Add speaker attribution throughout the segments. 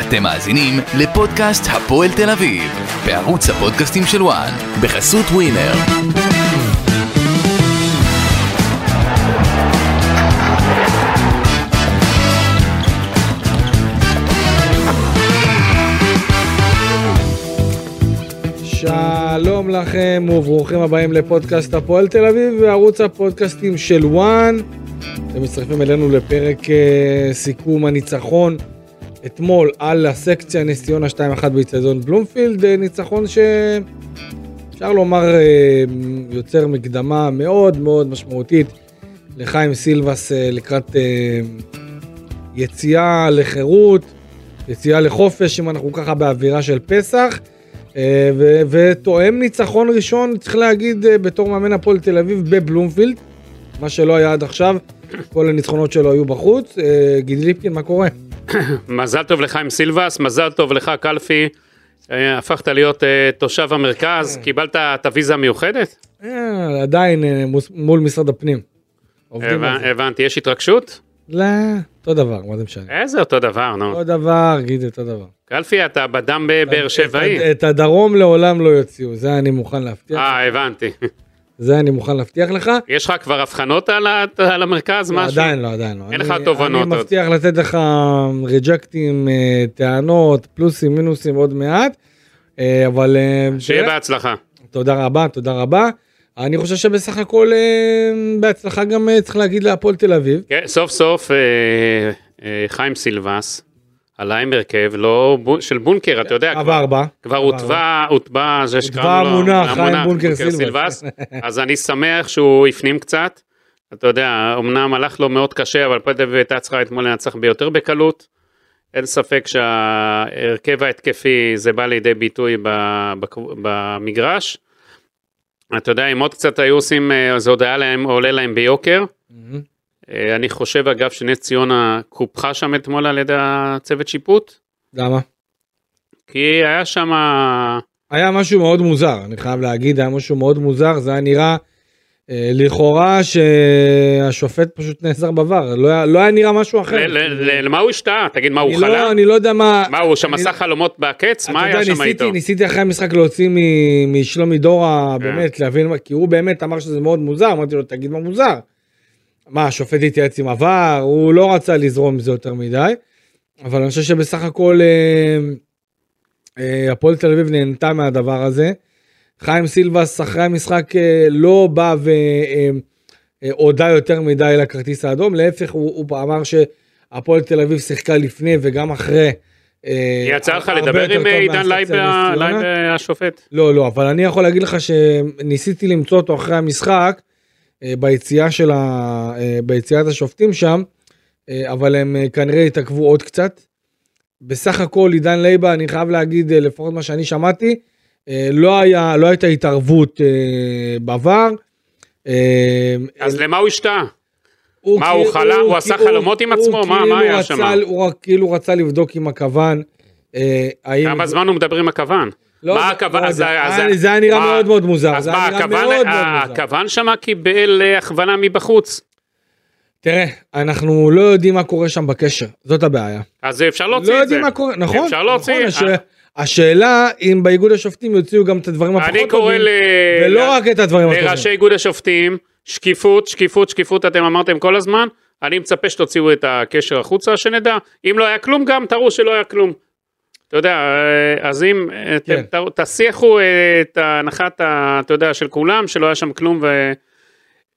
Speaker 1: אתם מאזינים לפודקאסט הפועל תל אביב, בערוץ הפודקאסטים של וואן, בחסות ווינר.
Speaker 2: שלום לכם וברוכים הבאים לפודקאסט הפועל תל אביב וערוץ הפודקאסטים של וואן. אתם מצטרפים אלינו לפרק אה, סיכום הניצחון אתמול על הסקציה נס ציונה 2-1 באיצטדיון בלומפילד, אה, ניצחון שאפשר לומר אה, יוצר מקדמה מאוד מאוד משמעותית לחיים סילבס אה, לקראת אה, יציאה לחירות, יציאה לחופש, אם אנחנו ככה באווירה של פסח. אה, ו- ותואם ניצחון ראשון, צריך להגיד, אה, בתור מאמן הפועל תל אביב בבלומפילד, מה שלא היה עד עכשיו, כל הניצחונות שלו היו בחוץ. אה, גידי ליפקין, מה קורה?
Speaker 3: מזל טוב לחיים סילבס, מזל טוב לך קלפי, אה, הפכת להיות אה, תושב המרכז,
Speaker 2: כן.
Speaker 3: קיבלת את הוויזה המיוחדת?
Speaker 2: אה, עדיין אה, מוס- מול משרד הפנים. עובדים על
Speaker 3: הבנ-
Speaker 2: זה.
Speaker 3: הבנתי, יש התרגשות?
Speaker 2: לא, אותו דבר, מה זה משנה?
Speaker 3: איזה אותו דבר, נו.
Speaker 2: אותו דבר, גידי, אותו דבר.
Speaker 3: קלפי, אתה בדם
Speaker 2: אה,
Speaker 3: בבאר שבעי.
Speaker 2: את- את הדרום לעולם לא יוציאו, זה אני מוכן להבטיח.
Speaker 3: אה, הבנתי.
Speaker 2: זה אני מוכן להבטיח לך.
Speaker 3: יש לך כבר הבחנות על ה- על המרכז,
Speaker 2: לא,
Speaker 3: משהו?
Speaker 2: עדיין לא, עדיין לא.
Speaker 3: אין
Speaker 2: אני-
Speaker 3: לך תובנות
Speaker 2: אני
Speaker 3: עוד.
Speaker 2: מבטיח לתת לך אה, ריג'קטים, אה, טענות, פלוסים, מינוסים עוד מעט, אה, אבל... אה,
Speaker 3: שיהיה
Speaker 2: תראה,
Speaker 3: בהצלחה.
Speaker 2: תודה רבה, תודה רבה. אני חושב שבסך הכל אה, בהצלחה גם אה, צריך להגיד להפועל תל אביב.
Speaker 3: כן, סוף סוף אה, אה, חיים סילבס עלה עם הרכב לא בו- של בונקר, אתה יודע,
Speaker 2: עבר בה.
Speaker 3: כבר
Speaker 2: עבר
Speaker 3: הוטבע, הוטבע, זה שקראנו לו,
Speaker 2: המונח, חיים בונקר סילבס.
Speaker 3: אז אני שמח שהוא הפנים קצת. אתה יודע, אמנם הלך לו מאוד קשה, אבל הפועל תל אביב הייתה צריכה אתמול לנצח ביותר בקלות. אין ספק שההרכב ההתקפי, זה בא לידי ביטוי ב- בק- במגרש. אתה יודע, אם עוד קצת היו עושים, אה, זה עוד היה להם, עולה להם ביוקר.
Speaker 2: מהמם.
Speaker 3: אה, אני חושב, אגב, שנס ציונה קופחה שם אתמול על ידי הצוות שיפוט,
Speaker 2: למה?
Speaker 3: כי היה שם...
Speaker 2: היה משהו מאוד מוזר, אני חייב להגיד, היה משהו מאוד מוזר, זה היה נראה אה, לכאורה שהשופט פשוט נעזר בVAR, לא היה- לא היה נראה משהו אחר.
Speaker 3: ל- ל- ל- למה הוא השתאה? תגיד, מה, הוא
Speaker 2: כן, אני לא-
Speaker 3: חלם?
Speaker 2: אני לא יודע מה...
Speaker 3: מה, הוא שם
Speaker 2: אני-
Speaker 3: עשה חלומות בעקץ? מה
Speaker 2: אתה יודע,
Speaker 3: היה שם
Speaker 2: ניסיתי-
Speaker 3: איתו?
Speaker 2: ניסיתי אחרי המשחק להוציא מ- משלומי דורה,
Speaker 3: כן.
Speaker 2: באמת, להבין, מה- כי הוא באמת אמר שזה מאוד מוזר, אמרתי לו, תגיד מה מוזר. מה, השופט התייעץ עם עבר, הוא לא רצה לזרום עם זה יותר מדי, אבל אני חושב שבסך הכל אה, אה, הפועל תל אביב נהנתה מהדבר הזה. חיים סילבס אחרי המשחק אה, לא בא והודה יותר מדי לכרטיס האדום, להפך, הוא הוא אמר שהפועל תל אביב שיחקה לפני וגם אחרי. אה,
Speaker 3: יצא לך
Speaker 2: הרבה
Speaker 3: לדבר
Speaker 2: יותר
Speaker 3: עם אה,
Speaker 2: טוב
Speaker 3: עידן
Speaker 2: מהסקציה
Speaker 3: לייב
Speaker 2: נס ציונה?
Speaker 3: לייב, אה, השופט?
Speaker 2: לא, לא, אבל אני יכול להגיד לך שניסיתי למצוא אותו אחרי המשחק, אה, ביציאה של ה... אה, ביציאת השופטים שם, אה, אבל הם אה, כנראה התעכבו עוד קצת. בסך הכל עידן לייבה, אני חייב להגיד, אה, לפחות מה שאני שמעתי, אה, לא, היה, לא הייתה התערבות אה, בעבר. אה,
Speaker 3: אז למה הוא השתאה? מה,
Speaker 2: כאילו-
Speaker 3: הוא חלם? הוא עשה
Speaker 2: כאילו-
Speaker 3: חלומות עם
Speaker 2: הוא
Speaker 3: עצמו? מה-
Speaker 2: כאילו
Speaker 3: מה היה
Speaker 2: רצה-
Speaker 3: שם?
Speaker 2: הוא רק- כאילו רצה לבדוק עם הכוון. אה, האם-
Speaker 3: כמה זמן הוא מדבר עם הכוון?
Speaker 2: לא,
Speaker 3: מה
Speaker 2: זה-
Speaker 3: הכוון?
Speaker 2: לא
Speaker 3: אז-
Speaker 2: יודע.
Speaker 3: אז-
Speaker 2: היה- זה היה נראה
Speaker 3: מה-
Speaker 2: מאוד מאוד מוזר,
Speaker 3: אז
Speaker 2: זה היה
Speaker 3: מה,
Speaker 2: נראה
Speaker 3: הכוון-
Speaker 2: מאוד מאוד
Speaker 3: אה,
Speaker 2: מוזר.
Speaker 3: הכוון שם קיבל אה, הכוונה מבחוץ.
Speaker 2: תראה, אנחנו לא יודעים מה קורה שם בקשר, זאת הבעיה.
Speaker 3: אז אפשר
Speaker 2: לא
Speaker 3: להוציא את זה.
Speaker 2: יודעים מה קורה, נכון,
Speaker 3: אפשר להוציא.
Speaker 2: נכון, הש-
Speaker 3: אה,
Speaker 2: השאלה אם באיגוד השופטים יוציאו גם את הדברים
Speaker 3: אני
Speaker 2: הפחות
Speaker 3: קורא
Speaker 2: טובים,
Speaker 3: ל...
Speaker 2: ולא
Speaker 3: ל-
Speaker 2: רק את הדברים
Speaker 3: לראשי
Speaker 2: הטובים.
Speaker 3: איגוד השופטים, שקיפות, שקיפות, שקיפות, אתם אמרתם כל הזמן, אני מצפה שתוציאו את הקשר החוצה, שנדע. אם לא היה כלום גם, תראו שלא היה כלום. אתה יודע, אה, אז אם אה,
Speaker 2: כן.
Speaker 3: אתם תראו- תסיחו אה, את ההנחת, ה- אתה יודע, של כולם, שלא היה שם כלום, ו...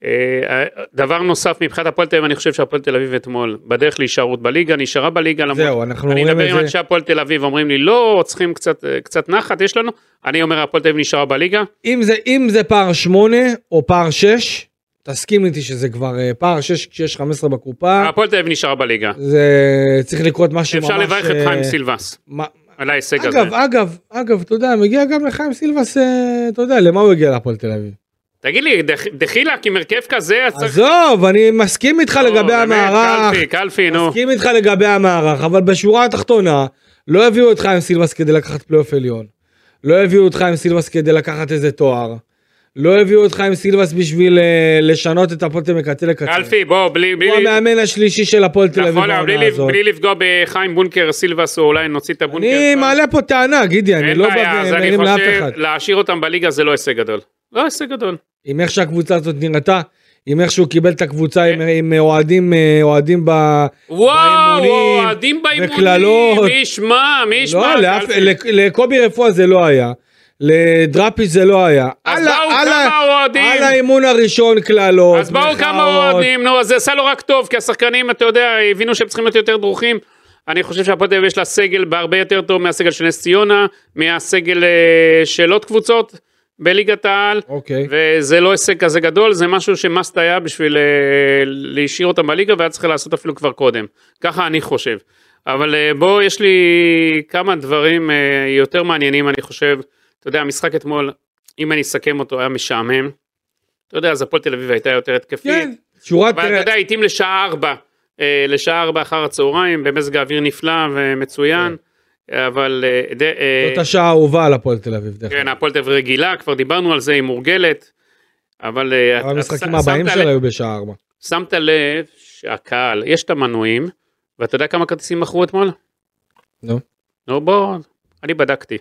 Speaker 3: אה, דבר נוסף מבחינת הפועל תל אביב, אני חושב שהפועל תל אביב אתמול בדרך להישארות בליגה, נשארה בליגה למרות
Speaker 2: זהו, אנחנו
Speaker 3: אני
Speaker 2: אומרים
Speaker 3: מדבר עם
Speaker 2: את
Speaker 3: אנשי
Speaker 2: זה.
Speaker 3: הפועל תל אביב, אומרים לי לא, צריכים קצת, קצת נחת, יש לנו. אני אומר, הפועל תל אביב נשארה בליגה.
Speaker 2: אם זה- אם זה פער 8 או פער 6, תסכים איתי שזה כבר אה, פער 6 כשיש 15 בקופה,
Speaker 3: הפועל תל אביב נשארה בליגה.
Speaker 2: זה צריך לקרות משהו ממש...
Speaker 3: אפשר לברך את
Speaker 2: אה,
Speaker 3: חיים סילבס
Speaker 2: מה-
Speaker 3: על ההישג הזה.
Speaker 2: אגב, אה, אגב, אגב, אתה יודע, מגיע גם לחיים סילבס, אה, אתה יודע, למה הוא הגיע להפועל תל אביב?
Speaker 3: תגיד לי, דח- דחילק עם הרכב כזה, אז צריך...
Speaker 2: עזוב, אני מסכים איתך
Speaker 3: לא,
Speaker 2: לגבי
Speaker 3: באמת,
Speaker 2: המערך,
Speaker 3: קלפי, קלפי, נו.
Speaker 2: מסכים איתך לגבי המערך, אבל בשורה התחתונה, לא הביאו את חיים סילבס כדי לקחת פלייאוף עליון. לא הביאו את חיים סילבס כדי לקחת איזה תואר. לא הביאו את חיים סילבס בשביל אה, לשנות את הפועל תל אביב מקצה לקצה.
Speaker 3: אלפי, בוא, בלי... בלי-
Speaker 2: הוא המאמן השלישי של הפועל תל אביב
Speaker 3: נכון, אבל בלי
Speaker 2: בעונה
Speaker 3: לפ-
Speaker 2: הזאת.
Speaker 3: בלי לפגוע בחיים בונקר סילבס, או אולי נוציא את הבונקר.
Speaker 2: אני
Speaker 3: כבר.
Speaker 2: מעלה פה טענה, גידי, אני
Speaker 3: אין
Speaker 2: לא
Speaker 3: בעיה,
Speaker 2: בא
Speaker 3: אז אני
Speaker 2: ומרים לאף אחד.
Speaker 3: חושב, להשאיר אותם בליגה זה לא הישג גדול. לא הישג גדול.
Speaker 2: עם איך שהקבוצה הזאת נראתה, עם איך שהוא קיבל את הקבוצה עם- עם אוהדים, אה, אוהדים ב...
Speaker 3: וואו,
Speaker 2: באימונים,
Speaker 3: אוהדים באימונים,
Speaker 2: וקללות.
Speaker 3: מי ישמע, מי ישמע.
Speaker 2: לא, לאף-
Speaker 3: אלפי.
Speaker 2: לק- לקובי רפואה זה לא היה. לדראפיס זה לא היה. על
Speaker 3: אז
Speaker 2: ה-
Speaker 3: באו
Speaker 2: על ה-
Speaker 3: כמה אוהדים.
Speaker 2: על האימון הראשון קללות.
Speaker 3: אז באו כמה
Speaker 2: מחאות.
Speaker 3: אוהדים, נו, אז זה עשה לו רק טוב, כי השחקנים, אתה יודע, הבינו שהם צריכים להיות יותר דרוכים. אני חושב שהפועל תל אביב יש לה סגל בהרבה יותר טוב מהסגל של נס ציונה, מהסגל אה, של עוד קבוצות בליגת העל,
Speaker 2: אוקיי.
Speaker 3: וזה לא הישג כזה גדול, זה משהו שמאסט היה בשביל אה, להשאיר אותם בליגה, והיה צריך לעשות אפילו כבר קודם. ככה אני חושב. אבל אה, בוא, יש לי כמה דברים אה, יותר מעניינים, אני חושב. אתה יודע, המשחק אתמול, אם אני אסכם אותו, היה משעמם. אתה יודע, אז הפועל תל אביב הייתה יותר התקפית.
Speaker 2: כן, שורת...
Speaker 3: ואתה יודע, התאים לשעה ארבע, אה, לשעה ארבע אחר הצהריים, במזג האוויר נפלא ומצוין, אבל... אה, די- אה,
Speaker 2: זאת השעה האהובה על הפועל תל אביב. דרך אגב.
Speaker 3: כן, הפועל תל אביב רגילה, כבר דיברנו על זה, היא מורגלת, אבל... אה,
Speaker 2: אבל
Speaker 3: את-
Speaker 2: המשחקים
Speaker 3: את-
Speaker 2: הבאים
Speaker 3: שמת
Speaker 2: שלה
Speaker 3: לב-
Speaker 2: היו בשעה ארבע.
Speaker 3: שמת לב שהקהל, יש את המנויים, ואתה יודע כמה כרטיסים מכרו אתמול?
Speaker 2: נו.
Speaker 3: נו, בוא, אני בדקתי.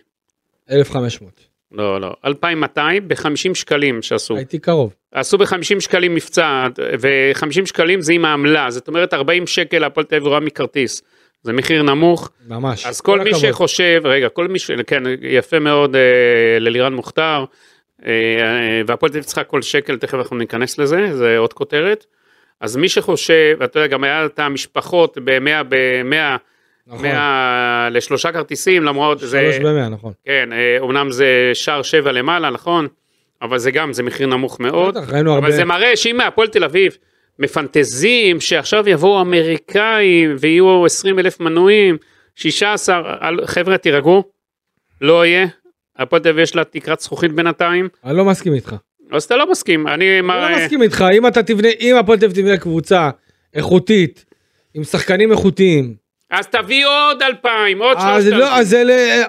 Speaker 2: 1500.
Speaker 3: לא, לא, 2,200 ב-50 שקלים שעשו.
Speaker 2: הייתי קרוב.
Speaker 3: עשו ב-50 שקלים מבצע, ו-50 שקלים זה עם העמלה, זאת אומרת 40 שקל הפועל תל אביב רואה מכרטיס. זה מחיר נמוך,
Speaker 2: ממש.
Speaker 3: אז כל מי
Speaker 2: הכבוד.
Speaker 3: שחושב, רגע, כל מי ש... כן, יפה מאוד אה, ללירן מוכתר, אה, אה, והפועל תל אביב צריכה כל שקל, תכף אנחנו ניכנס לזה, זה עוד כותרת. אז מי שחושב, אתה יודע, גם היה את המשפחות ב-100, ב-100,
Speaker 2: נכון.
Speaker 3: 100 לשלושה כרטיסים, למרות זה...
Speaker 2: שלוש במאה, נכון.
Speaker 3: כן, אה, אומנם זה שער שבע למעלה, נכון? אבל זה גם, זה מחיר נמוך מאוד.
Speaker 2: בטח, ראינו הרבה.
Speaker 3: אבל זה מראה שאם מהפועל תל אביב מפנטזים שעכשיו יבואו אמריקאים ויהיו 20 אלף מנויים, 16, אל- חבר'ה תירגעו, לא יהיה. הפועל תל אביב יש לה תקרת זכוכית בינתיים,
Speaker 2: אני לא מסכים איתך.
Speaker 3: אז אתה לא מסכים, אני... מה- אה?
Speaker 2: אני לא מסכים איתך. אם אתה תבנה, אם הפועל תל אביב תבנה קבוצה איכותית, עם שחקנים איכותיים,
Speaker 3: אז תביא עוד 2,000, עוד
Speaker 2: אז
Speaker 3: 3,000.
Speaker 2: לא, אז אלה,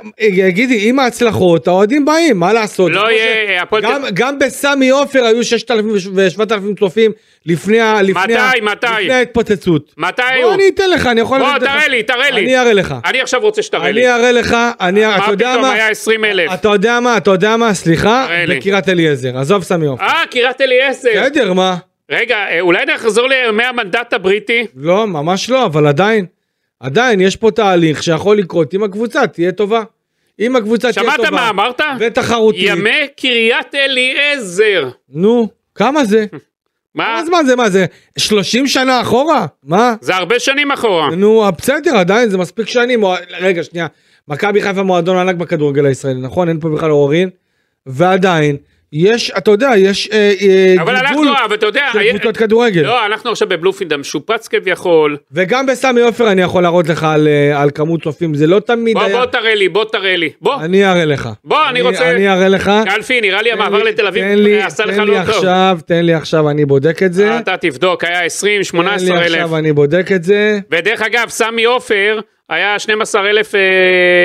Speaker 2: גידי, עם ההצלחות, האוהדים באים, מה לעשות? זה
Speaker 3: לא
Speaker 2: כמו
Speaker 3: יהיה,
Speaker 2: ש-
Speaker 3: הפועל תל
Speaker 2: גם-
Speaker 3: אביב...
Speaker 2: גם בסמי עופר היו 6,000 ו-7,000 צופים לפני ה... לפני ה-
Speaker 3: מתי, מתי?
Speaker 2: לפני ההתפוצצות.
Speaker 3: מתי
Speaker 2: בוא,
Speaker 3: הוא?
Speaker 2: אני אתן לך, אני יכול...
Speaker 3: בוא,
Speaker 2: לתת לך.
Speaker 3: תראה לי, תראה לי.
Speaker 2: אני אראה לך.
Speaker 3: אני עכשיו רוצה שתראה לי.
Speaker 2: אני אראה לך, אני... אתה
Speaker 3: מה
Speaker 2: יודע
Speaker 3: פתאום,
Speaker 2: מה?
Speaker 3: היה 20 אלף.
Speaker 2: אתה יודע מה, אתה יודע מה, סליחה,
Speaker 3: תראה לי.
Speaker 2: בקירת אליעזר, עזוב סמי עופר.
Speaker 3: אה, קריית אליעזר.
Speaker 2: בסדר, מה?
Speaker 3: רגע, אה, אולי נחזור לימי המנדט הבריטי?
Speaker 2: לא, ממש לא, אבל עדיין, עדיין יש פה תהליך שיכול לקרות אם הקבוצה תהיה טובה. אם הקבוצה תהיה
Speaker 3: שמעת מה
Speaker 2: טובה
Speaker 3: אמרת?
Speaker 2: ותחרותית,
Speaker 3: ימי קריית אליעזר.
Speaker 2: נו, כמה זה?
Speaker 3: מה?
Speaker 2: כמה זמן זה, מה זה, 30 שנה אחורה? מה?
Speaker 3: זה הרבה שנים אחורה.
Speaker 2: נו, אה, בסדר, עדיין זה מספיק שנים. או- רגע, שנייה. מכבי חיפה מועדון ענק בכדורגל הישראלי, נכון? אין פה בכלל עוררין. ועדיין, יש, אתה יודע, יש אה, אה,
Speaker 3: אבל אנחנו,
Speaker 2: גלגול
Speaker 3: אבל אתה יודע,
Speaker 2: של
Speaker 3: היה-
Speaker 2: קבוצות כדורגל.
Speaker 3: לא, אנחנו עכשיו בבלומפילד המשופץ כביכול.
Speaker 2: וגם בסמי עופר אני יכול להראות לך על, אה, על כמות צופים, זה לא תמיד
Speaker 3: בוא,
Speaker 2: היה...
Speaker 3: בוא תראה לי, בוא תראה לי. בוא,
Speaker 2: אני אראה לך.
Speaker 3: בוא, לא, אני רוצה-
Speaker 2: אני אראה לך.
Speaker 3: אלפי, נראה לי
Speaker 2: תן
Speaker 3: המעבר
Speaker 2: לי-
Speaker 3: לתל אביב
Speaker 2: תן לי-
Speaker 3: עשה לך
Speaker 2: תן לי
Speaker 3: לא טוב.
Speaker 2: עכשיו, תן לי עכשיו, אני בודק את זה.
Speaker 3: אה, אתה תבדוק, היה 20,
Speaker 2: תן
Speaker 3: 18
Speaker 2: לי
Speaker 3: אלף.
Speaker 2: עכשיו, אני בודק את זה.
Speaker 3: ודרך אגב, סמי עופר היה 12 אלף אה,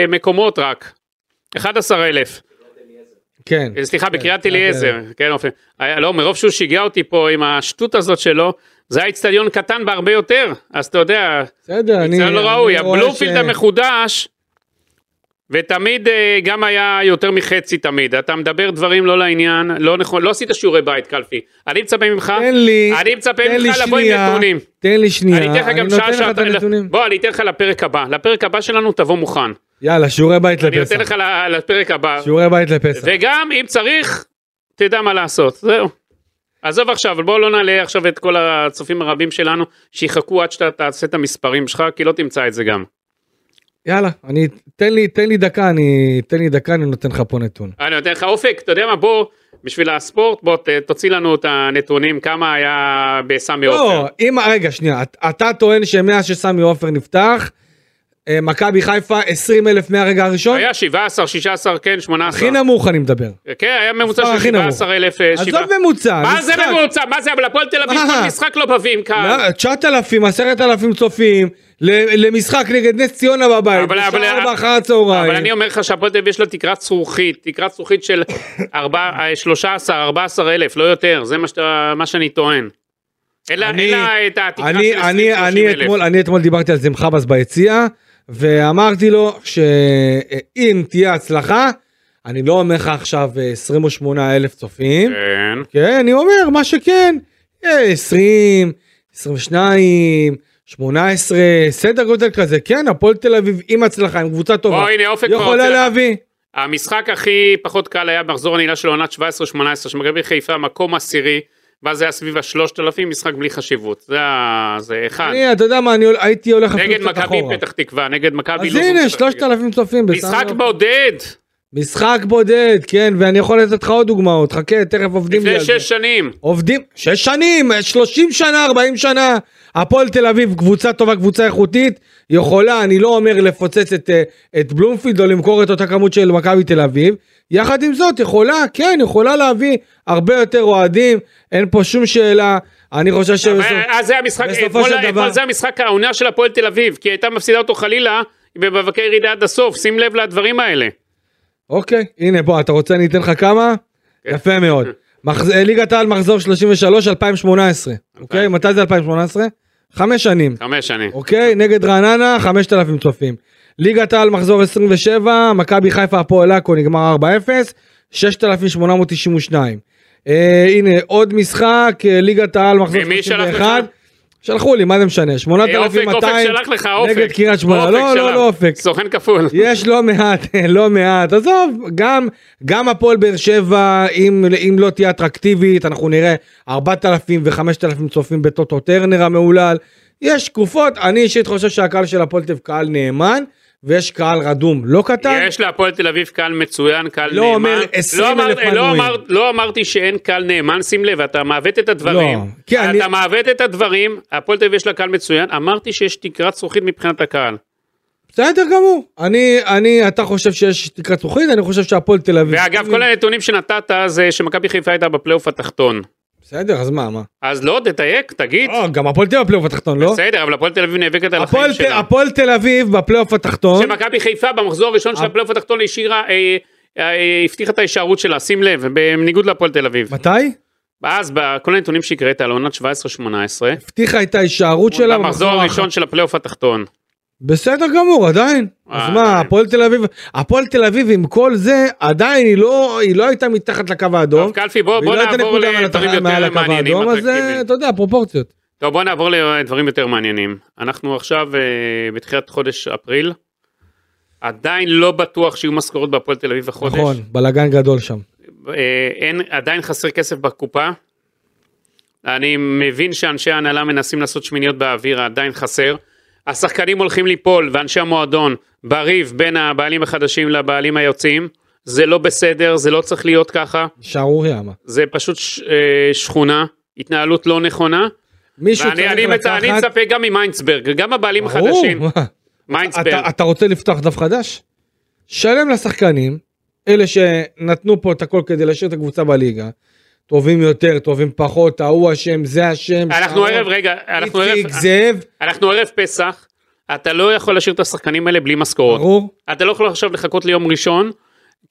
Speaker 3: מקומות רק. 11 אלף.
Speaker 2: כן.
Speaker 3: סליחה, בקריית
Speaker 2: כן,
Speaker 3: אליעזר, כן עופר. היה- לא, מרוב שהוא שיגע אותי פה עם השטות הזאת שלו, זה היה אצטדיון קטן בהרבה יותר, אז אתה יודע,
Speaker 2: בסדר, אני...
Speaker 3: זה לא ראוי,
Speaker 2: אני רואה
Speaker 3: הבלומפילד
Speaker 2: ש-
Speaker 3: המחודש, ותמיד אה, גם היה יותר מחצי תמיד, אתה מדבר דברים לא לעניין, לא נכון, לא עשית שיעורי בית קלפי, אני מצפה ממך,
Speaker 2: תן לי,
Speaker 3: אני מצפה
Speaker 2: תן לי
Speaker 3: ממך לבוא עם
Speaker 2: שנייה,
Speaker 3: נתונים.
Speaker 2: תן לי שנייה,
Speaker 3: אני אתן לך גם
Speaker 2: נותן
Speaker 3: שעה
Speaker 2: לך את
Speaker 3: שעתיים,
Speaker 2: הנתונים.
Speaker 3: בוא אני אתן לך לפרק הבא, לפרק הבא שלנו תבוא מוכן,
Speaker 2: יאללה, שיעורי בית
Speaker 3: אני אתן לך
Speaker 2: לפסח.
Speaker 3: ל- לפרק הבא,
Speaker 2: שיעורי בית לפסח.
Speaker 3: וגם אם צריך, תדע מה לעשות, זהו. עזוב עכשיו, בואו לא נעלה עכשיו את כל הצופים הרבים שלנו, שיחכו עד שאתה תעשה את המספרים שלך, כי לא תמצא את זה גם.
Speaker 2: יאללה, אני, תן לי, תן לי דקה, אני, תן לי דקה, אני נותן לך פה נתון.
Speaker 3: אה, אני נותן לך אופק, אתה יודע מה, בוא, בשביל הספורט, בוא ת- תוציא לנו את הנתונים, כמה היה בסמי עופר.
Speaker 2: לא, אם, רגע, שנייה, את- אתה טוען שמאז שסמי עופר נפתח, אה, מכבי חיפה 20 אלף מהרגע הראשון?
Speaker 3: היה 17, 16, כן, 18.
Speaker 2: הכי נמוך אני מדבר.
Speaker 3: כן, היה ממוצע
Speaker 2: מספר
Speaker 3: של
Speaker 2: הכי נמוך.
Speaker 3: 17 אלף אה, שבעה.
Speaker 2: עזוב ממוצע,
Speaker 3: מה זה
Speaker 2: משחק.
Speaker 3: ממוצע? מה זה, אבל הפועל תל אביב
Speaker 2: מה?
Speaker 3: כל משחק לא מביאים קהל.
Speaker 2: מה, 9,000, 10,000 צופים, ל- למשחק נגד נס ציונה בבית,
Speaker 3: אבל- אבל-
Speaker 2: בשעה 4 אחר
Speaker 3: אבל
Speaker 2: הצהריים.
Speaker 3: אני אומר לך שהפועל תל אביב יש לה תקרת זכוכית, תקרת זכוכית של אה, 13, 14 אלף, לא יותר, זה מה שאתה- מה שאני טוען. אין לה- אין לה את התקרה של
Speaker 2: אני,
Speaker 3: 20,
Speaker 2: אני,
Speaker 3: 30
Speaker 2: אני,
Speaker 3: אלף.
Speaker 2: אתמול, אני אתמול דיברתי על זה עם חבאס ביציע, ואמרתי לו שאם תהיה הצלחה, אני לא אומר לך עכשיו 28 אלף צופים,
Speaker 3: כן.
Speaker 2: כן, אני אומר מה שכן, אה, 20, 22, 18, סדר גודל כזה, כן, הפועל תל אביב עם הצלחה, עם קבוצה טובה,
Speaker 3: הנה, אופק כבר
Speaker 2: יכולה
Speaker 3: רוצה-
Speaker 2: להביא.
Speaker 3: המשחק הכי פחות קל היה מחזור הנעילה של עונת 17-18, שמכבי חיפה מקום עשירי, ואז זה היה סביב ה-3,000, משחק בלי חשיבות. זה ה- זה אחד.
Speaker 2: אני, אתה יודע מה, אני הייתי הולך אפילו
Speaker 3: אה. נגד
Speaker 2: קצת
Speaker 3: מכבי
Speaker 2: אחורה.
Speaker 3: פתח תקווה, נגד מכבי
Speaker 2: אז
Speaker 3: לוזון פתח
Speaker 2: הנה,
Speaker 3: תקווה.
Speaker 2: 3,000 צופים. בסך
Speaker 3: משחק
Speaker 2: הכל.
Speaker 3: בודד,
Speaker 2: משחק בודד, כן, ואני יכול לתת לך עוד דוגמאות, חכה, תכף עובדים לי
Speaker 3: לפני
Speaker 2: על זה.
Speaker 3: שש שנים.
Speaker 2: עובדים, שש שנים, 30 שנה, 40 שנה, הפועל תל אביב, קבוצה טובה, קבוצה איכותית, יכולה, אני לא אומר לפוצץ את, אה, את בלומפילד או למכור את אותה כמות של מכבי תל אביב, יחד עם זאת, יכולה, כן, יכולה להביא הרבה יותר אוהדים, אין פה שום שאלה, אני חושב שבסוף...
Speaker 3: אז אה, זה המשחק,
Speaker 2: בסופו
Speaker 3: אתמול-
Speaker 2: של דבר-
Speaker 3: אתמול זה המשחק העונה של הפועל תל אביב, כי היא הייתה מפסידה אותו חלילה במאבקי ירידה עד הסוף, שים לב לדברים האלה.
Speaker 2: אוקיי, הנה בוא, אתה רוצה אני אתן לך כמה? יפה מאוד. מחז- ליגת העל מחזור 33, 2018. אוקיי, מתי זה 2018? חמש שנים.
Speaker 3: חמש שנים.
Speaker 2: אוקיי, נגד רעננה, 5,000 צופים. ליגת העל מחזור 27, מכבי חיפה הפועל עכו נגמר 4-0, 6,892. אה, הנה עוד משחק, אה, ליגת העל מחזור
Speaker 3: ומי שלח
Speaker 2: 31.
Speaker 3: לך?
Speaker 2: שלחו לי, מה זה משנה?
Speaker 3: אה, אופק, אופק
Speaker 2: 8,200
Speaker 3: שלח לך, אופק.
Speaker 2: נגד קריית שמונה.
Speaker 3: אופק
Speaker 2: לא,
Speaker 3: שלח.
Speaker 2: לא, לא אופק.
Speaker 3: סוכן כפול.
Speaker 2: יש לא מעט, לא מעט, עזוב, גם, גם הפועל באר שבע, אם, אם לא תהיה אטרקטיבית, אנחנו נראה 4,000 ו-5,000 צופים בטוטו טרנר המהולל, יש תקופות, אני אישית חושב שהקהל של הפועל תל אביב קהל נאמן, ויש קהל רדום לא קטן,
Speaker 3: יש להפועל תל אביב קהל מצוין, קהל
Speaker 2: לא
Speaker 3: נאמן.
Speaker 2: אומר 20,000
Speaker 3: אמר-
Speaker 2: מנויים.
Speaker 3: לא אמר- לא אמרתי שאין קהל נאמן, שים לב, אתה מעוות את הדברים.
Speaker 2: לא, כי
Speaker 3: אתה
Speaker 2: אני-
Speaker 3: מעוות את הדברים, הפועל תל אביב יש לה קהל מצוין, אמרתי שיש תקרת זכוכית מבחינת הקהל.
Speaker 2: בסדר גמור, אני, אני, אתה חושב שיש תקרת זכוכית, אני חושב שהפועל תל אביב,
Speaker 3: ואגב, כל הנתונים שנתת זה שמכבי חיפה הייתה בפלייאוף התחתון.
Speaker 2: בסדר, אז מה, מה,
Speaker 3: אז לא, תדייק, תגיד.
Speaker 2: לא, גם הפועל תל אביב בפלייאוף התחתון, לא?
Speaker 3: בסדר, אבל הפועל תל אביב נאבקת על
Speaker 2: הפועל
Speaker 3: החיים
Speaker 2: תל-
Speaker 3: שלה.
Speaker 2: הפועל תל אביב בפלייאוף התחתון,
Speaker 3: שמכבי חיפה במחזור הראשון של הפלייאוף התחתון השאירה, אה, אה, אה, הבטיחה את ההישארות שלה, שים לב, בניגוד להפועל תל אביב.
Speaker 2: מתי?
Speaker 3: אז בכל הנתונים שהקראת על עונת 17-18,
Speaker 2: הבטיחה את ההישארות שלה
Speaker 3: במחזור הראשון של הפלייאוף התחתון.
Speaker 2: בסדר גמור עדיין אז
Speaker 3: אה,
Speaker 2: מה
Speaker 3: עדיין.
Speaker 2: הפועל תל אביב הפועל תל אביב עם כל זה עדיין היא לא היא לא הייתה מתחת לקו האדום.
Speaker 3: טוב, קלפי, בוא
Speaker 2: והיא
Speaker 3: בוא
Speaker 2: לא הייתה
Speaker 3: נעבור
Speaker 2: נקודה מעל התח-
Speaker 3: לדברים
Speaker 2: מעל
Speaker 3: יותר
Speaker 2: הקו
Speaker 3: מעניינים.
Speaker 2: האדום, אז
Speaker 3: אטרקטיביים.
Speaker 2: אה, אתה יודע פרופורציות.
Speaker 3: טוב, בוא נעבור לדברים יותר מעניינים. אנחנו עכשיו אה, בתחילת חודש אפריל. עדיין לא בטוח שיהיו משכורות בהפועל תל אביב החודש.
Speaker 2: נכון בלאגן גדול שם.
Speaker 3: אה, אין, עדיין חסר כסף בקופה. אני מבין שאנשי ההנהלה מנסים לעשות שמיניות באוויר, עדיין חסר. השחקנים הולכים ליפול, ואנשי המועדון, בריב בין הבעלים החדשים לבעלים היוצאים. זה לא בסדר, זה לא צריך להיות ככה.
Speaker 2: שערוריה מה.
Speaker 3: זה פשוט ש, אה, שכונה, התנהלות לא נכונה.
Speaker 2: מישהו
Speaker 3: ואני
Speaker 2: צריך
Speaker 3: אני מצ- אני
Speaker 2: לקחת.
Speaker 3: מצפה גם ממיינדסברג, גם הבעלים
Speaker 2: ברור,
Speaker 3: החדשים.
Speaker 2: מה?
Speaker 3: מיינדסברג.
Speaker 2: אתה- אתה רוצה לפתוח דף חדש? שלם לשחקנים אלה שנתנו פה את הכל כדי להשאיר את הקבוצה בליגה. טובים יותר טובים פחות ההוא אשם זה אשם.
Speaker 3: אנחנו
Speaker 2: שרון,
Speaker 3: ערב, רגע, אנחנו ערב,
Speaker 2: איציק זאב.
Speaker 3: אנחנו ערב פסח, אתה לא יכול להשאיר את השחקנים האלה בלי משכורות.
Speaker 2: ברור.
Speaker 3: אתה לא יכול עכשיו לחכות ליום ראשון,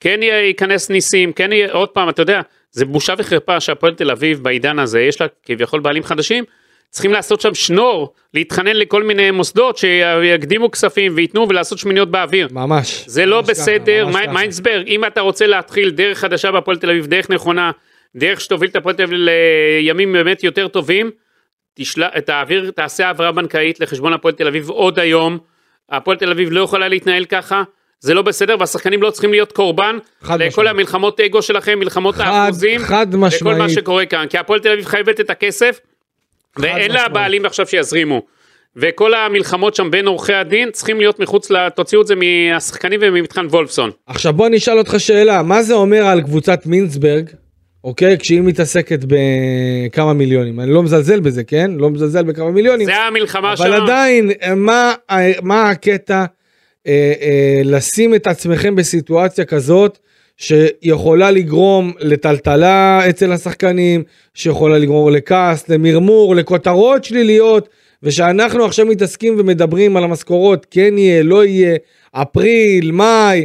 Speaker 3: כן יהיה- ייכנס ניסים, כן יהיה, עוד פעם, אתה יודע, זה בושה וחרפה שהפועל תל אביב בעידן הזה, יש לה כביכול בעלים חדשים, צריכים לעשות שם שנור, להתחנן לכל מיני מוסדות שיקדימו כספים וייתנו ולעשות שמיניות באוויר.
Speaker 2: ממש.
Speaker 3: זה לא
Speaker 2: ממש ככה,
Speaker 3: בסדר,
Speaker 2: ממש
Speaker 3: מי-
Speaker 2: ככה.
Speaker 3: מיינסברג, אם אתה רוצה להתחיל דרך חדשה בהפועל תל אביב, דרך נכונה, דרך שתוביל את הפועל תל אביב לימים באמת יותר טובים, תשל... תעביר, תעשה העברה בנקאית לחשבון הפועל תל אביב עוד היום, הפועל תל אביב לא יכולה להתנהל ככה, זה לא בסדר, והשחקנים לא צריכים להיות קורבן
Speaker 2: חד
Speaker 3: לכל
Speaker 2: משמעית.
Speaker 3: המלחמות אגו שלכם, מלחמות
Speaker 2: חד-
Speaker 3: האחוזים,
Speaker 2: חד
Speaker 3: לכל מה
Speaker 2: משמעית.
Speaker 3: שקורה כאן, כי הפועל תל אביב חייבת את הכסף, ואין לה
Speaker 2: משמעית.
Speaker 3: בעלים עכשיו שיזרימו. וכל המלחמות שם בין עורכי הדין צריכים להיות מחוץ ל... תוציאו את זה מהשחקנים וממתחן וולפסון.
Speaker 2: עכשיו בוא אני אשאל אותך שאלה, מה זה אומר על קבוצת מינסברג, אוקיי? כשהיא מתעסקת בכמה מיליונים. אני לא מזלזל בזה,
Speaker 3: אה,
Speaker 2: כן? לא מזלזל בכמה מיליונים.
Speaker 3: זה המלחמה
Speaker 2: אבל
Speaker 3: שלנו.
Speaker 2: עדיין, מה, מה הקטע אה, אה, לשים את עצמכם בסיטואציה כזאת שיכולה לגרום לטלטלה אצל השחקנים, שיכולה לגרום לכעס, למרמור, לכותרות שליליות, ושאנחנו עכשיו מתעסקים ומדברים על המשכורות, כן יהיה, לא יהיה, אפריל, מאי,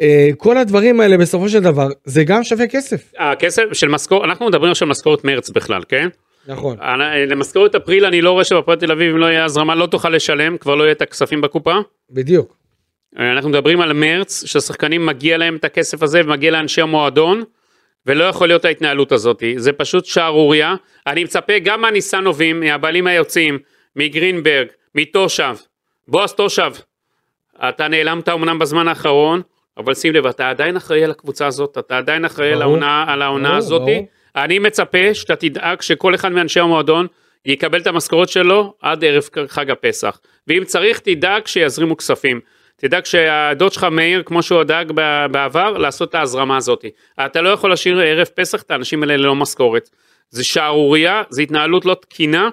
Speaker 2: אה, כל הדברים האלה בסופו של דבר, זה גם שווה כסף.
Speaker 3: הכסף אה, של משכורת, אנחנו מדברים עכשיו על משכורת מרץ בכלל, כן?
Speaker 2: נכון.
Speaker 3: על- למשכורת אפריל אני לא רואה שבפועל תל אביב אם לא יהיה הזרמה לא תוכל לשלם, כבר לא יהיה את הכספים בקופה.
Speaker 2: בדיוק.
Speaker 3: אנחנו מדברים על מרץ, שהשחקנים מגיע להם את הכסף הזה ומגיע לאנשי המועדון, ולא יכול להיות ההתנהלות הזאת. זה פשוט שערורייה. אני מצפה גם מהניסנובים, מהבעלים היוצאים, מגרינברג, מתושב, בועז תושב, אתה נעלמת אמנם בזמן האחרון, אבל שים לב, אתה עדיין אחראי על הקבוצה הזאת, אתה עדיין אחראי על
Speaker 2: ברור.
Speaker 3: העונה, על העונה
Speaker 2: ברור,
Speaker 3: הזאת.
Speaker 2: ברור.
Speaker 3: אני מצפה שאתה תדאג שכל אחד מאנשי המועדון יקבל את המשכורת שלו עד ערב חג הפסח. ואם צריך, תדאג שיזרימו כספים. תדאג שהדוד שלך מאיר, כמו שהוא דאג ב- בעבר, לעשות את ההזרמה הזאת. אתה לא יכול להשאיר ערב פסח את האנשים האלה ללא משכורת. זה שערורייה, זו התנהלות לא תקינה,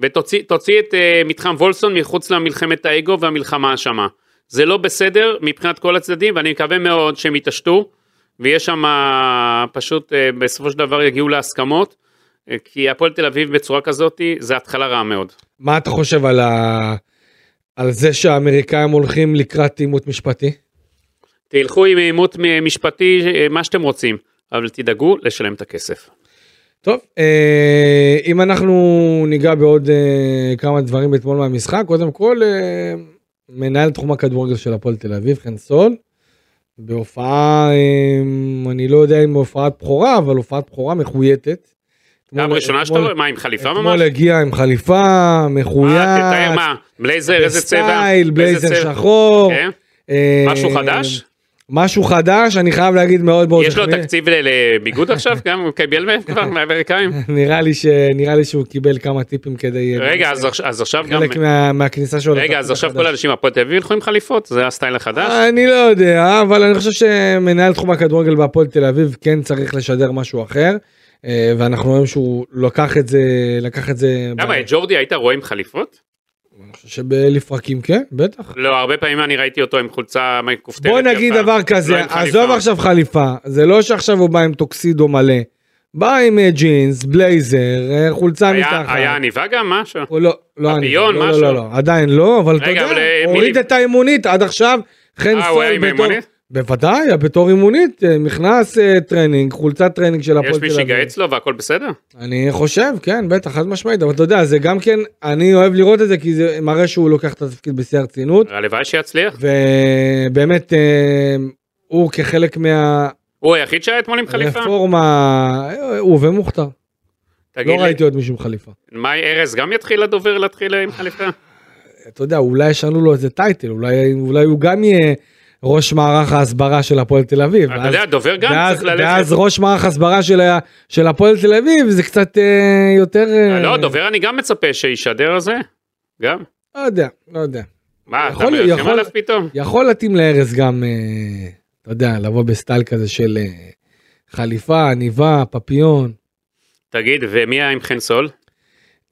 Speaker 3: ותוציא תוציא את uh, מתחם וולסון מחוץ למלחמת האגו והמלחמה השמה. זה לא בסדר מבחינת כל הצדדים, ואני מקווה מאוד שהם יתעשתו, ויש שם אה, פשוט, אה, בסופו של דבר יגיעו להסכמות, אה, כי הפועל תל אביב בצורה כזאת, זה התחלה רעה מאוד.
Speaker 2: מה אתה חושב על, ה... על זה שהאמריקאים הולכים לקראת עימות משפטי?
Speaker 3: תלכו עם עימות משפטי, אה, מה שאתם רוצים, אבל תדאגו לשלם את הכסף.
Speaker 2: טוב, אה, אם אנחנו ניגע בעוד אה, כמה דברים אתמול מהמשחק, קודם כל, אה, מנהל תחום הכדורגל של הפועל תל אביב, חן סול, בהופעה, אה, אני לא יודע אם בהופעת בכורה, אבל הופעת בכורה מחויטת.
Speaker 3: פעם
Speaker 2: אתמול-
Speaker 3: ראשונה שאתה
Speaker 2: אתמול-
Speaker 3: רואה, מה, עם חליפה ממש?
Speaker 2: אתמול הגיע עם חליפה,
Speaker 3: מה, תתאר
Speaker 2: מחויט,
Speaker 3: מה, בלייזר, איזה צבע?
Speaker 2: בסטייל,
Speaker 3: איזה
Speaker 2: בלייזר
Speaker 3: צבע?
Speaker 2: שחור.
Speaker 3: כן?
Speaker 2: אה,
Speaker 3: משהו חדש?
Speaker 2: משהו חדש, אני חייב להגיד מאוד מאוד...
Speaker 3: יש לו
Speaker 2: החמיא-
Speaker 3: תקציב ל- לביגוד עכשיו? גם הוא קיבל מהם כבר מהאמריקאים?
Speaker 2: נראה לי, ש... נראה לי שהוא קיבל כמה טיפים כדי...
Speaker 3: רגע, אז עכשיו- אז עכשיו גם...
Speaker 2: חלק מה... מהכניסה שלו.
Speaker 3: רגע,
Speaker 2: לתפקיד
Speaker 3: אז עכשיו
Speaker 2: החדש.
Speaker 3: כל האנשים מהפועל תל אביב ילכו עם חליפות? זה הסטייל החדש?
Speaker 2: אני לא יודע, אבל אני חושב שמנהל תחום הכדורגל בהפועל תל אביב כן צריך לשדר משהו אחר, אה, ואנחנו רואים שהוא לקח את זה, לקח את זה... ב-
Speaker 3: למה, את ג'ורדי היית רואה עם חליפות?
Speaker 2: אני חושב שבלפרקים כן, בטח.
Speaker 3: לא, הרבה פעמים אני ראיתי אותו עם חולצה מכופתרת.
Speaker 2: בוא נגיד
Speaker 3: יפה.
Speaker 2: דבר כזה,
Speaker 3: לא עם חליפה.
Speaker 2: עזוב עכשיו חליפה, זה לא שעכשיו הוא בא עם טוקסידו מלא, בא עם אה, ג'ינס, בלייזר, אה, חולצה
Speaker 3: היה-
Speaker 2: מתחת.
Speaker 3: היה עניבה גם משהו?
Speaker 2: הוא לא, לא, אני,
Speaker 3: פפיון,
Speaker 2: לא, לא,
Speaker 3: משהו?
Speaker 2: לא, לא, עדיין לא, אבל אתה
Speaker 3: רגע,
Speaker 2: יודע,
Speaker 3: אבל, אה,
Speaker 2: הוריד
Speaker 3: מי-
Speaker 2: את האימונית עד עכשיו, חן
Speaker 3: אה, הוא היה
Speaker 2: סול
Speaker 3: עם
Speaker 2: בתור,
Speaker 3: האימונית?
Speaker 2: בוודאי, בתור אימונית, אה, נכנס אה, טרנינג, חולצת טרנינג של הפועל
Speaker 3: יש
Speaker 2: תל אביב.
Speaker 3: מי שיגייץ לו והכל בסדר?
Speaker 2: אני חושב, כן, בטח, חד משמעית, אבל אתה יודע, זה גם כן, אני אוהב לראות את זה, כי זה מראה שהוא לוקח את התפקיד בשיא הרצינות,
Speaker 3: הלוואי שיצליח.
Speaker 2: ובאמת, אה, הוא כחלק
Speaker 3: הוא היחיד שהיה אתמול עם חליפה?
Speaker 2: מהרפורמה, אה, הוא ומוכתר, לא
Speaker 3: תגיד לי,
Speaker 2: ראיתי עוד מישהו עם חליפה.
Speaker 3: מה, ארז גם יתחיל לדובר להתחיל עם חליפה?
Speaker 2: אתה יודע, אולי ישנו לו איזה טייטל, אולי, אולי הוא גם יהיה ראש מערך ההסברה של הפועל תל אביב.
Speaker 3: אתה
Speaker 2: ואז-
Speaker 3: יודע, דובר גם
Speaker 2: ואז,
Speaker 3: צריך ללכת.
Speaker 2: ואז ראש מערך הסברה של, ה- של הפועל תל אביב זה קצת אה, יותר... אה,
Speaker 3: לא, דובר אני גם מצפה שישדר על זה. גם.
Speaker 2: לא יודע, לא יודע.
Speaker 3: מה, אתה
Speaker 2: יכול-
Speaker 3: מרחם
Speaker 2: יכול-
Speaker 3: עליו פתאום?
Speaker 2: יכול להתאים לארז גם, אה, אתה יודע, לבוא בסטייל כזה של אה, חליפה, עניבה, פפיון.
Speaker 3: תגיד, ומי היה עם חן סול?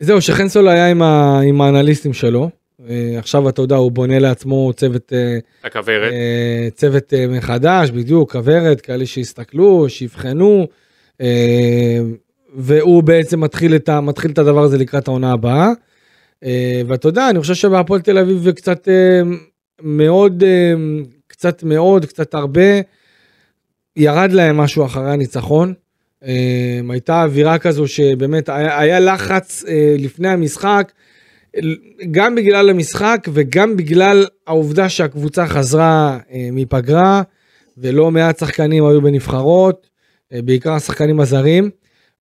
Speaker 2: זהו, שחנסול היה עם, ה, עם האנליסטים שלו. אה, עכשיו אתה יודע, הוא בונה לעצמו צוות... אה,
Speaker 3: הכוורת.
Speaker 2: אה, צוות אה, מחדש, בדיוק, כוורת, כאלה שיסתכלו, שיבחנו, אה, והוא בעצם מתחיל את, ה, מתחיל את הדבר הזה לקראת העונה הבאה. אה, ואתה יודע, אני חושב שבהפועל תל אביב זה קצת אה, מאוד, אה, קצת מאוד, קצת הרבה, ירד להם משהו אחרי הניצחון. אה, הייתה אווירה כזו שבאמת היה, היה לחץ אה, לפני המשחק, גם בגלל המשחק וגם בגלל העובדה שהקבוצה חזרה אה, מפגרה ולא מעט שחקנים היו בנבחרות, אה, בעיקר השחקנים הזרים,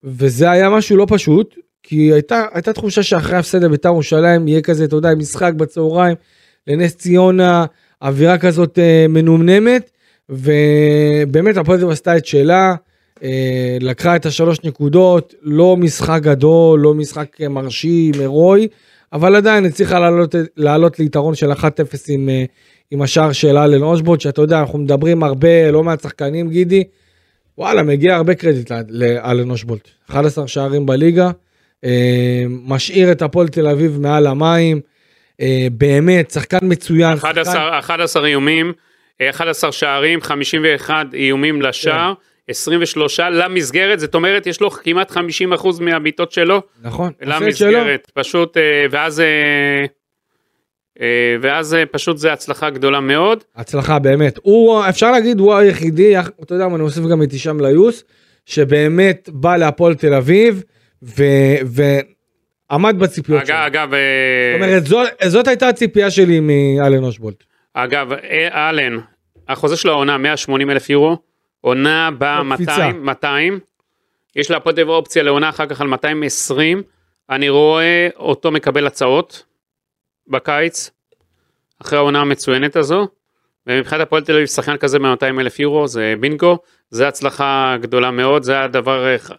Speaker 2: וזה היה משהו לא פשוט, כי הייתה, הייתה תחושה שאחרי הפסד לבית"ר ירושלים יהיה כזה, אתה יודע, משחק בצהריים לנס ציונה, אווירה כזאת אה, מנומנמת, ובאמת הפועל תל אביב עשתה את שלה. אה, לקחה את השלוש נקודות, לא משחק גדול, לא משחק אה, מרשים, הירואי, אבל עדיין הצליחה לעלות, לעלות ליתרון של 1-0 עם, אה, עם השער של אלן אושבולט, שאתה יודע, אנחנו מדברים הרבה, לא מעט שחקנים, גידי. וואלה, מגיע הרבה קרדיט ל- לאלן אושבולט. 11 שערים בליגה, אה, משאיר את הפועל תל אביב מעל המים. אה, באמת, שחקן מצוין. כן.
Speaker 3: 11, 11 איומים, 11 שערים, 51 איומים לשער,
Speaker 2: כן.
Speaker 3: 23 למסגרת, זאת אומרת, יש לו כמעט 50% מהבעיטות שלו
Speaker 2: נכון. הסרט שלו.
Speaker 3: למסגרת, פשוט, אה, ואז, אה, אה, ואז אה, פשוט זה הצלחה גדולה מאוד.
Speaker 2: הצלחה באמת. הוא, אפשר להגיד, הוא היחידי, יח- אתה יודע מה, אני אוסיף גם את הישאם ליוס, שבאמת בא להפועל תל אביב, ו... ועמד בציפיות שלו.
Speaker 3: אגב, אגב, אה,
Speaker 2: זאת אומרת, זאת, זאת הייתה הציפייה שלי מאלן אושבולט.
Speaker 3: אגב, אה, אלן, החוזה שלו העונה 180 אלף יורו, עונה ב-
Speaker 2: קפיצה.
Speaker 3: 200, 200, יש להפועל תל אביב אופציה לעונה אחר כך על 220, אני רואה אותו מקבל הצעות בקיץ, אחרי העונה המצוינת הזו, ומבחינת הפועל תל אביב שחקן כזה ב-200 אלף יורו זה בינגו, זה הצלחה גדולה מאוד, זה הדבר, אה, ח-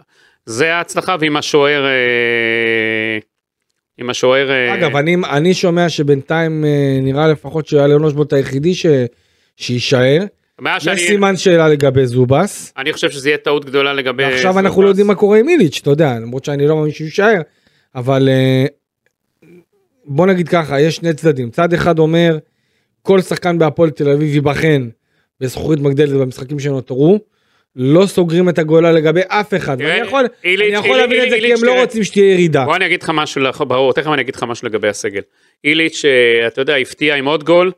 Speaker 3: זה ההצלחה ועם השוער, אה, עם השוער, אה,
Speaker 2: אגב, אני, אני שומע שבינתיים אה, נראה לפחות שאלן אושבולט היחידי ש... שיישאר.
Speaker 3: הבעיה
Speaker 2: יש
Speaker 3: שאני-
Speaker 2: סימן שאלה לגבי זובס.
Speaker 3: אני חושב שזה יהיה טעות גדולה לגבי...
Speaker 2: ועכשיו אנחנו
Speaker 3: סטרבס.
Speaker 2: לא יודעים מה קורה עם איליץ', אתה יודע, למרות שאני לא מאמין שהוא יישאר, אבל אה, בוא נגיד ככה, יש שני צדדים. צד אחד אומר, כל שחקן בהפועל תל אביב ייבחן בזכוכית מגדלת במשחקים שנותרו, לא סוגרים את הגולה לגבי אף אחד.
Speaker 3: תראה,
Speaker 2: ואני יכול, אני
Speaker 3: כן. איליץ',
Speaker 2: יכול להבין את
Speaker 3: איליץ',
Speaker 2: זה כי
Speaker 3: איליץ',
Speaker 2: הם לא
Speaker 3: תראה.
Speaker 2: רוצים שתהיה ירידה.
Speaker 3: בוא אני אגיד לך משהו, לח- ברור, תכף אני אגיד לך משהו לגבי הסגל. איליץ', אה, אתה יודע, הפתיע עם עוד גול.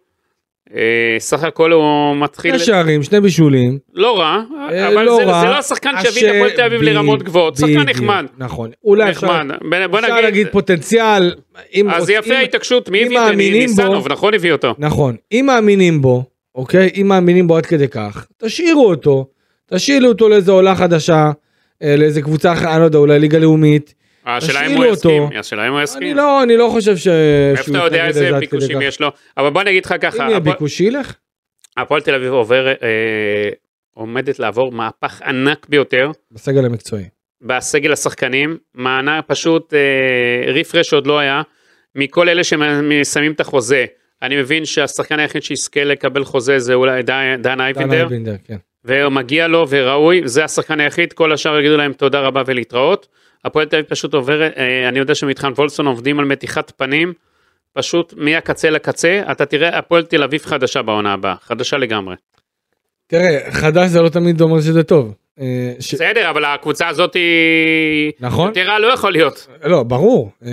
Speaker 3: אה, סך הכל הוא מתחיל,
Speaker 2: שני שערים, שני בישולים.
Speaker 3: לא רע,
Speaker 2: אה,
Speaker 3: אבל
Speaker 2: לא
Speaker 3: זה
Speaker 2: רע.
Speaker 3: זה לא השחקן שהביא
Speaker 2: אשר-
Speaker 3: את הפועל תל אביב לרמות
Speaker 2: ב-
Speaker 3: גבוהות, שחקן
Speaker 2: בדיוק,
Speaker 3: נחמד,
Speaker 2: נכון. אולי אפשר
Speaker 3: נחמד. בוא- בוא
Speaker 2: אפשר להגיד
Speaker 3: נגיד,
Speaker 2: פוטנציאל. אם
Speaker 3: אז
Speaker 2: רוצים-
Speaker 3: יפה ההתעקשות, מי
Speaker 2: אם
Speaker 3: הביא את זה?
Speaker 2: מאמינים בו-
Speaker 3: ניסנוב, נכון הביא אותו.
Speaker 2: נכון, אם מאמינים בו, אוקיי? אם מאמינים בו עד כדי כך, תשאירו אותו, תשאילו אותו לאיזה עולה חדשה, אה, לאיזה קבוצה, אחת, אני לא יודע, אולי ליגה לאומית.
Speaker 3: אה, השאלה אם
Speaker 2: תשאילו
Speaker 3: הוא
Speaker 2: אותו.
Speaker 3: יסכים, אה, השאלה אם הוא
Speaker 2: אני
Speaker 3: יסכים.
Speaker 2: לא, אני לא חושב ש...
Speaker 3: איפה
Speaker 2: שהוא
Speaker 3: אתה יודע
Speaker 2: יתנגד
Speaker 3: איזה
Speaker 2: לזה עד כדי
Speaker 3: ביקושים
Speaker 2: כך.
Speaker 3: יש לו, אבל בוא נגיד לך ככה,
Speaker 2: אם יהיה
Speaker 3: הפועל-
Speaker 2: ביקוש ילך,
Speaker 3: הפועל תל אביב עובר, אה, עומדת לעבור מהפך ענק ביותר
Speaker 2: בסגל המקצועי.
Speaker 3: בסגל השחקנים, מענה פשוט אה, רפרש עוד לא היה, מכל אלה שמסיימים את החוזה, אני מבין שהשחקן היחיד שיזכה לקבל חוזה זה אולי דן- דן
Speaker 2: דן
Speaker 3: אייבינדר,
Speaker 2: אייבינדר, כן.
Speaker 3: ומגיע לו וראוי, זה השחקן היחיד, כל השאר יגידו להם תודה רבה ולהתראות. הפועל תל אביב פשוט עובר, אה, אני יודע שמתחם וולפסון עובדים על מתיחת פנים, פשוט מהקצה לקצה, אתה תראה הפועל תל אביב חדשה בעונה הבאה, חדשה לגמרי.
Speaker 2: תראה, חדש זה לא תמיד אומר שזה טוב. אה, ש-
Speaker 3: בסדר, אבל הקבוצה הזאת היא...
Speaker 2: נכון?
Speaker 3: יותר רע לא יכול להיות.
Speaker 2: לא, ברור. אה,